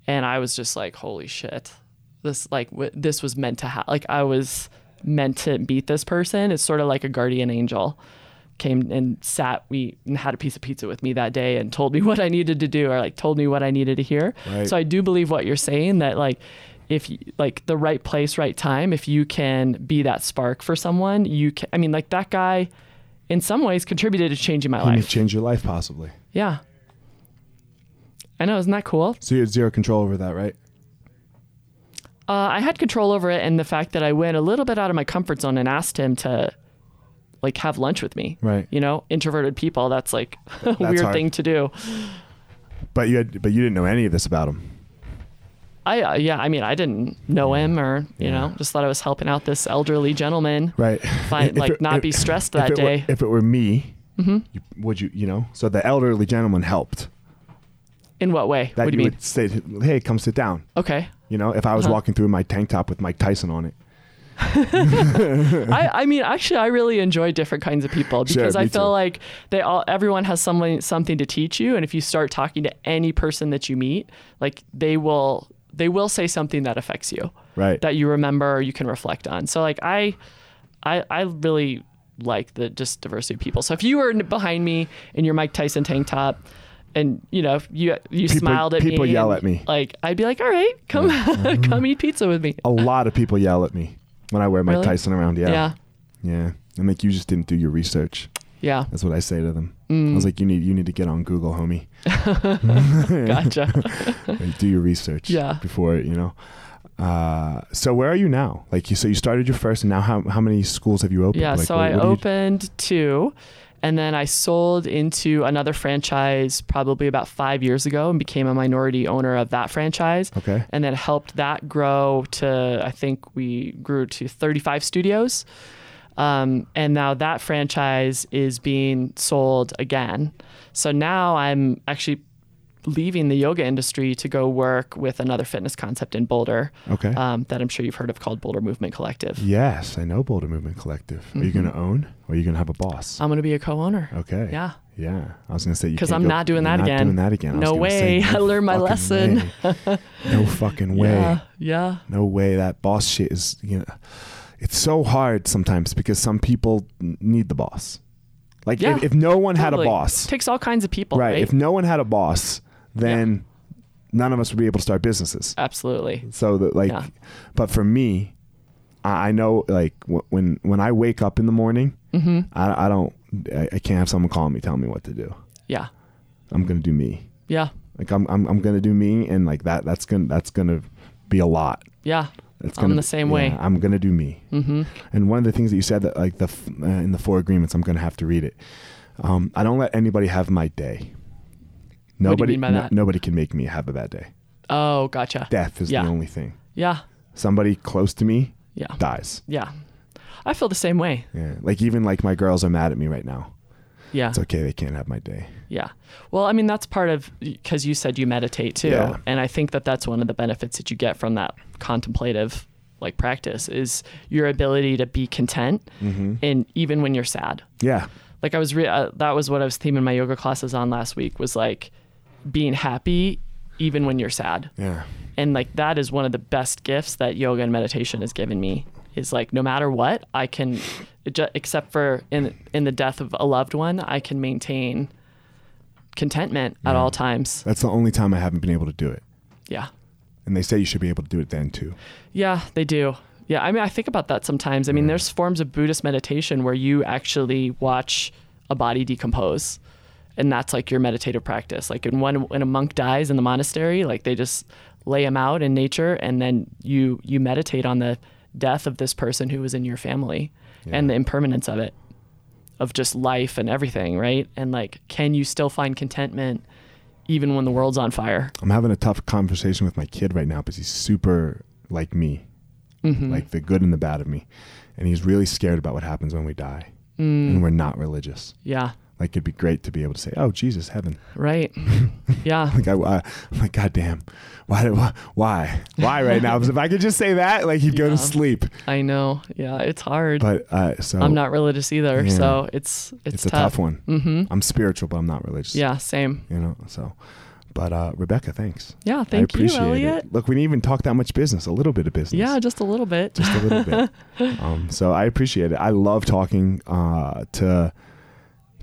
Speaker 2: And I was just like, Holy shit. This like w- this was meant to happen. Like I was meant to meet this person. It's sort of like a guardian angel came and sat we and had a piece of pizza with me that day and told me *laughs* what I needed to do or like told me what I needed to hear.
Speaker 1: Right.
Speaker 2: So I do believe what you're saying that like if you, like the right place, right time, if you can be that spark for someone, you can I mean like that guy in some ways contributed to changing my
Speaker 1: Can you
Speaker 2: life.
Speaker 1: change your life possibly?
Speaker 2: Yeah. I know, isn't that cool?
Speaker 1: So you had zero control over that, right?
Speaker 2: Uh, I had control over it, and the fact that I went a little bit out of my comfort zone and asked him to, like, have lunch with me.
Speaker 1: Right.
Speaker 2: You know, introverted people. That's like *laughs* a weird
Speaker 1: hard.
Speaker 2: thing to do.
Speaker 1: But you had, but you didn't know any of this about him.
Speaker 2: I uh, yeah. I mean, I didn't know him, or you know, just thought I was helping out this elderly gentleman.
Speaker 1: right
Speaker 2: Find,
Speaker 1: If
Speaker 2: like
Speaker 1: it-
Speaker 2: not
Speaker 1: if-
Speaker 2: be stressed
Speaker 1: if it
Speaker 2: that
Speaker 1: were-
Speaker 2: day. Mm-hmm.
Speaker 1: if it were me you, would you you know so the elderly gentleman helped
Speaker 2: In what way?
Speaker 1: that
Speaker 2: what do you
Speaker 1: you
Speaker 2: mean? Uh-huh.
Speaker 1: would say hey come sit down
Speaker 2: Okay.
Speaker 1: you know if i was walking through my tank top with mike tyson on it
Speaker 2: I, I mean, actually, I really enjoy different kinds of people
Speaker 1: *laughs* Sure,
Speaker 2: because I
Speaker 1: me
Speaker 2: feel
Speaker 1: too.
Speaker 2: like they all, everyone has someone something to teach you, and if you start talking to any person that you meet, like they will, they will say something that affects you,
Speaker 1: right
Speaker 2: that you remember or you can reflect on. So, like, I, I, I really like the just diversity of people. So, if you were n- behind me in your Mike Tyson tank top. And you know if you you smiled at me.
Speaker 1: people yell
Speaker 2: and,
Speaker 1: at me.
Speaker 2: Like I'd be like, all right, come *laughs* come eat pizza with me.
Speaker 1: a lot of people yell at me when i wear mike
Speaker 2: uh, Really?
Speaker 1: tyson around yeah
Speaker 2: yeah,
Speaker 1: yeah i'm like you just didn't do your research
Speaker 2: yeah.
Speaker 1: that's what i say to them i
Speaker 2: Mm.
Speaker 1: was like you need you need to get on google
Speaker 2: *laughs*
Speaker 1: homie *laughs*
Speaker 2: gotcha.
Speaker 1: Like, do your research
Speaker 2: Yeah.
Speaker 1: before you know uh, so where are you now like you so you started your first and now how, how many schools have you opened
Speaker 2: Yeah,
Speaker 1: Like,
Speaker 2: so
Speaker 1: what-
Speaker 2: I
Speaker 1: what do you-
Speaker 2: opened two and then I sold into another franchise probably about five years ago and became a minority owner of that franchise.
Speaker 1: okay
Speaker 2: And then helped that grow to, I think we grew to 35 studios. Um, and now that franchise is being sold again. So now I'm actually leaving the yoga industry to go work with another fitness concept in Boulder
Speaker 1: Okay.
Speaker 2: um, that I'm sure you've heard of called Boulder Movement Collective.
Speaker 1: yes, I know Boulder Movement Collective. Are you going to own or are you going to have a boss?
Speaker 2: I'm going to be a co owner.
Speaker 1: Oh, okay.
Speaker 2: Mm-hmm. Um, Yeah.
Speaker 1: Yeah. I was going to say you
Speaker 2: 'Cause
Speaker 1: can't
Speaker 2: I'm
Speaker 1: go-
Speaker 2: not doing
Speaker 1: you're
Speaker 2: that
Speaker 1: not
Speaker 2: again.
Speaker 1: doing that again. I was
Speaker 2: No
Speaker 1: gonna say,
Speaker 2: way. *laughs* I learned my
Speaker 1: fucking
Speaker 2: lesson. *laughs*
Speaker 1: way. no fucking way.
Speaker 2: Yeah. Yeah.
Speaker 1: No way that boss shit is, you know, it's so hard sometimes because some people n- need the boss. Like
Speaker 2: Yeah.
Speaker 1: if, if no one had a
Speaker 2: Totally.
Speaker 1: boss,
Speaker 2: Takes all kinds of people,
Speaker 1: right,
Speaker 2: right?
Speaker 1: If no one had a boss, then none of us would be able to start businesses.
Speaker 2: Absolutely.
Speaker 1: So that like,
Speaker 2: Yeah.
Speaker 1: but for me, I I know like wh- when when I wake up in the morning,
Speaker 2: Mm-hmm.
Speaker 1: I, I don't I, I can't have someone calling me telling me what to do.
Speaker 2: Yeah.
Speaker 1: I'm gonna do me.
Speaker 2: Yeah.
Speaker 1: Like I'm I'm, I'm gonna do me, and like that that's gonna that's gonna be a lot.
Speaker 2: Yeah.
Speaker 1: It's
Speaker 2: I'm
Speaker 1: gonna
Speaker 2: the same way.
Speaker 1: yeah, I'm gonna do me. Mm-hmm. And one of the things that you said that like the f- uh, in the four agreements, I'm gonna have to read it. Um, I don't let anybody have my day.
Speaker 2: do you
Speaker 1: Nobody,
Speaker 2: mean by that?
Speaker 1: nobody can make me have a bad day.
Speaker 2: Oh, gotcha.
Speaker 1: Death is
Speaker 2: Yeah.
Speaker 1: the only thing.
Speaker 2: Yeah.
Speaker 1: Somebody close to me
Speaker 2: Yeah.
Speaker 1: dies.
Speaker 2: Yeah. I feel the same way.
Speaker 1: Yeah. Like even like my girls are mad at me right now.
Speaker 2: Yeah.
Speaker 1: It's okay. They can't have my day.
Speaker 2: Yeah. Well, I mean, that's part of because you said you meditate too.
Speaker 1: Yeah.
Speaker 2: And I think that that's one of the benefits that you get from that contemplative like practice is your ability to be content
Speaker 1: Mm-hmm.
Speaker 2: and even when you're sad.
Speaker 1: Yeah.
Speaker 2: Like I was re- uh, that was what I was theming my yoga classes on last week was like being happy even when you're sad.
Speaker 1: Yeah.
Speaker 2: And like that is one of the best gifts that yoga and meditation has given me is like no matter what, I can ju- except for in in the death of a loved one, I can maintain contentment at all times.
Speaker 1: That's the only time I haven't been able to do it.
Speaker 2: Yeah.
Speaker 1: And they say you should be able to do it then too.
Speaker 2: Yeah, they do. Yeah, I mean, I think about that sometimes. I mean, there's forms of Buddhist meditation where you actually watch a body decompose, and that's like your meditative practice. Like, in one, when a monk dies in the monastery, like they just lay him out in nature, and then you you meditate on the death of this person who was in your family and the impermanence of it, of just life and everything, right? And like, can you still find contentment even when the world's on fire?
Speaker 1: I'm having a tough conversation with my kid right now because he's super like me,
Speaker 2: Mm-hmm.
Speaker 1: like the good and the bad of me. And he's really scared about what happens when we die
Speaker 2: Mm.
Speaker 1: and we're not religious.
Speaker 2: Yeah,
Speaker 1: Like it'd be great to be able to say, "Oh, Jesus, heaven." *laughs*
Speaker 2: right. yeah.
Speaker 1: Like I, I am like, "God damn, why, did- why, why, why right now?" Because if I could just say that, like he'd go
Speaker 2: Yeah.
Speaker 1: to sleep.
Speaker 2: I know. Yeah, it's hard.
Speaker 1: But uh, so
Speaker 2: I'm not religious either,
Speaker 1: Yeah.
Speaker 2: so it's it's,
Speaker 1: it's, a tough, one.
Speaker 2: Mm-hmm.
Speaker 1: I'm spiritual, but I'm not religious.
Speaker 2: Yeah, same.
Speaker 1: you know. So, but uh, Rebecca, thanks.
Speaker 2: Yeah,
Speaker 1: I
Speaker 2: thank you,
Speaker 1: appreciate
Speaker 2: Elliot.
Speaker 1: It. Look, we didn't even talk that much business. A little bit of business.
Speaker 2: Yeah, just a little bit.
Speaker 1: just a little
Speaker 2: *laughs*
Speaker 1: bit. Um, so I appreciate it. I love talking uh, to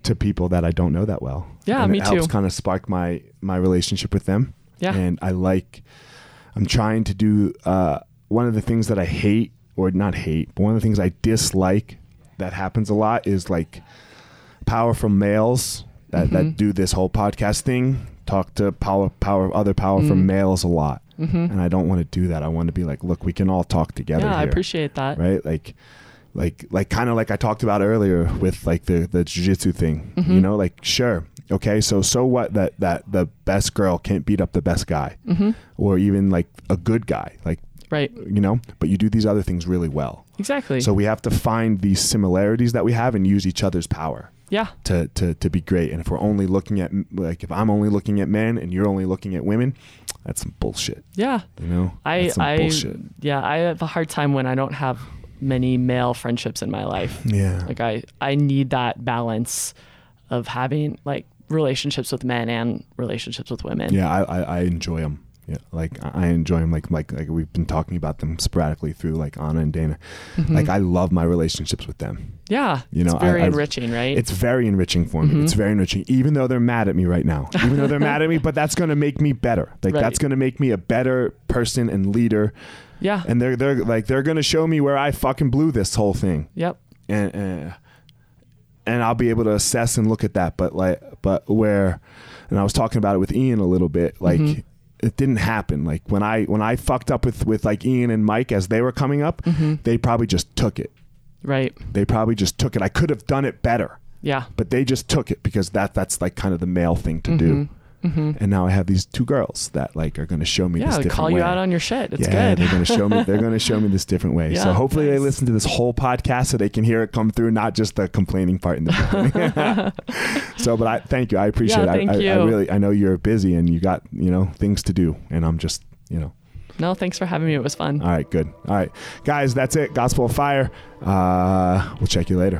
Speaker 1: to people that I don't know that well.
Speaker 2: Yeah,
Speaker 1: and
Speaker 2: me
Speaker 1: it Helps
Speaker 2: too.
Speaker 1: kind of spark my my relationship with them.
Speaker 2: Yeah.
Speaker 1: and I like. I'm trying to do uh, one of the things that I hate, or not hate, but one of the things I dislike that happens a lot is like powerful males that,
Speaker 2: Mm-hmm.
Speaker 1: that do this whole podcast thing talk to power power other powerful
Speaker 2: Mm-hmm.
Speaker 1: males a lot and i don't want to do that i want to be like look we can all talk
Speaker 2: yeah,
Speaker 1: together
Speaker 2: I
Speaker 1: here
Speaker 2: appreciate that.
Speaker 1: right like like like kind of like i talked about earlier with like the the jiu-jitsu thing
Speaker 2: Mm-hmm.
Speaker 1: you know like sure okay so so what that that the best girl can't beat up the best guy
Speaker 2: Mm-hmm.
Speaker 1: or even like a good guy like
Speaker 2: Right.
Speaker 1: you know but you do these other things really well
Speaker 2: Exactly.
Speaker 1: so we have to find these similarities that we have and use each other's power
Speaker 2: yeah.
Speaker 1: to, to, to be great. And if we're only looking at like if I'm only looking at men and you're only looking at women, that's some bullshit.
Speaker 2: Yeah.
Speaker 1: You know,
Speaker 2: I
Speaker 1: that's some
Speaker 2: I
Speaker 1: bullshit.
Speaker 2: yeah, I have a hard time when I don't have many male friendships in my life.
Speaker 1: *laughs* Yeah,
Speaker 2: Like I I need that balance of having like relationships with men and relationships with women.
Speaker 1: yeah, I, I, I enjoy them. Yeah, like I I enjoy them. Like like like we've been talking about them sporadically through like Anna and Dana. Like I love my relationships with them.
Speaker 2: Mm-hmm. Yeah,
Speaker 1: You know,
Speaker 2: it's very
Speaker 1: I- I-
Speaker 2: enriching, right?
Speaker 1: It's very enriching for me. It's very enriching, even though they're mad at me right now. Even though they're mad at me, but that's going to make me better. Like
Speaker 2: Right.
Speaker 1: that's going to make me a better person and leader.
Speaker 2: yeah.
Speaker 1: And they're they're like they're going to show me where I fucking blew this whole thing.
Speaker 2: yep.
Speaker 1: and and, and I'll be able to assess and look at that. But like, but where, and I was talking about it with Ian a little bit. Like,
Speaker 2: Mm-hmm.
Speaker 1: it didn't happen. Like when I when I fucked up with with like Ian and Mike as they were coming up,
Speaker 2: Mm-hmm.
Speaker 1: they probably just took it.
Speaker 2: Right.
Speaker 1: They probably just took it. I could have done it better,
Speaker 2: Yeah.
Speaker 1: but they just took it because that that's like kind of the male thing to do. and now I have these two girls that like are going to show me this
Speaker 2: Mm-hmm. Yeah,
Speaker 1: different
Speaker 2: call
Speaker 1: way.
Speaker 2: you out on your shit. It's
Speaker 1: yeah,
Speaker 2: good.
Speaker 1: they're going to show me. They're going to show me this different way. so
Speaker 2: *laughs* Yeah,
Speaker 1: hopefully they
Speaker 2: nice.
Speaker 1: listen to this whole podcast so they can hear it come through, not just the complaining part in the beginning.
Speaker 2: *laughs*
Speaker 1: *laughs* so, but I thank you. I appreciate
Speaker 2: Yeah,
Speaker 1: it.
Speaker 2: thank
Speaker 1: I, I, I
Speaker 2: you.
Speaker 1: really, I know you're busy and you got you know things to do, and I'm just you know.
Speaker 2: No, thanks for having me. It was fun.
Speaker 1: All right, good. All right, guys, that's it. Gospel of Fire. Uh, we'll check you later.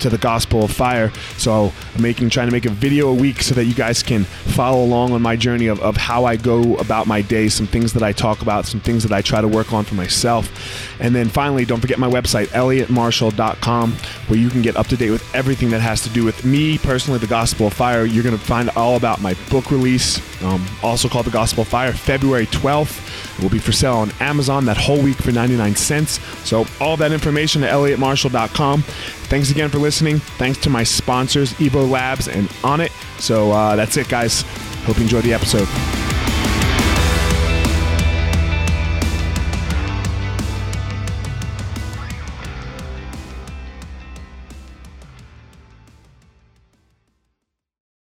Speaker 1: to the Gospel of Fire. So I'm making, trying to make a video a week so that you guys can follow along on my journey of, of how I go about my day, some things that I talk about, some things that I try to work on for myself. And then finally, don't forget my website, elliottmarshall.com, where you can get up to date with everything that has to do with me personally, the Gospel of Fire. You're going to find all about my book release, um, also called The Gospel of Fire, February 12th. It will be for sale on Amazon that whole week for 99 cents. So, all that information at elliottmarshall.com. Thanks again for listening. Thanks to my sponsors, Evo Labs and On It. So, uh, that's it, guys. Hope you enjoyed the episode.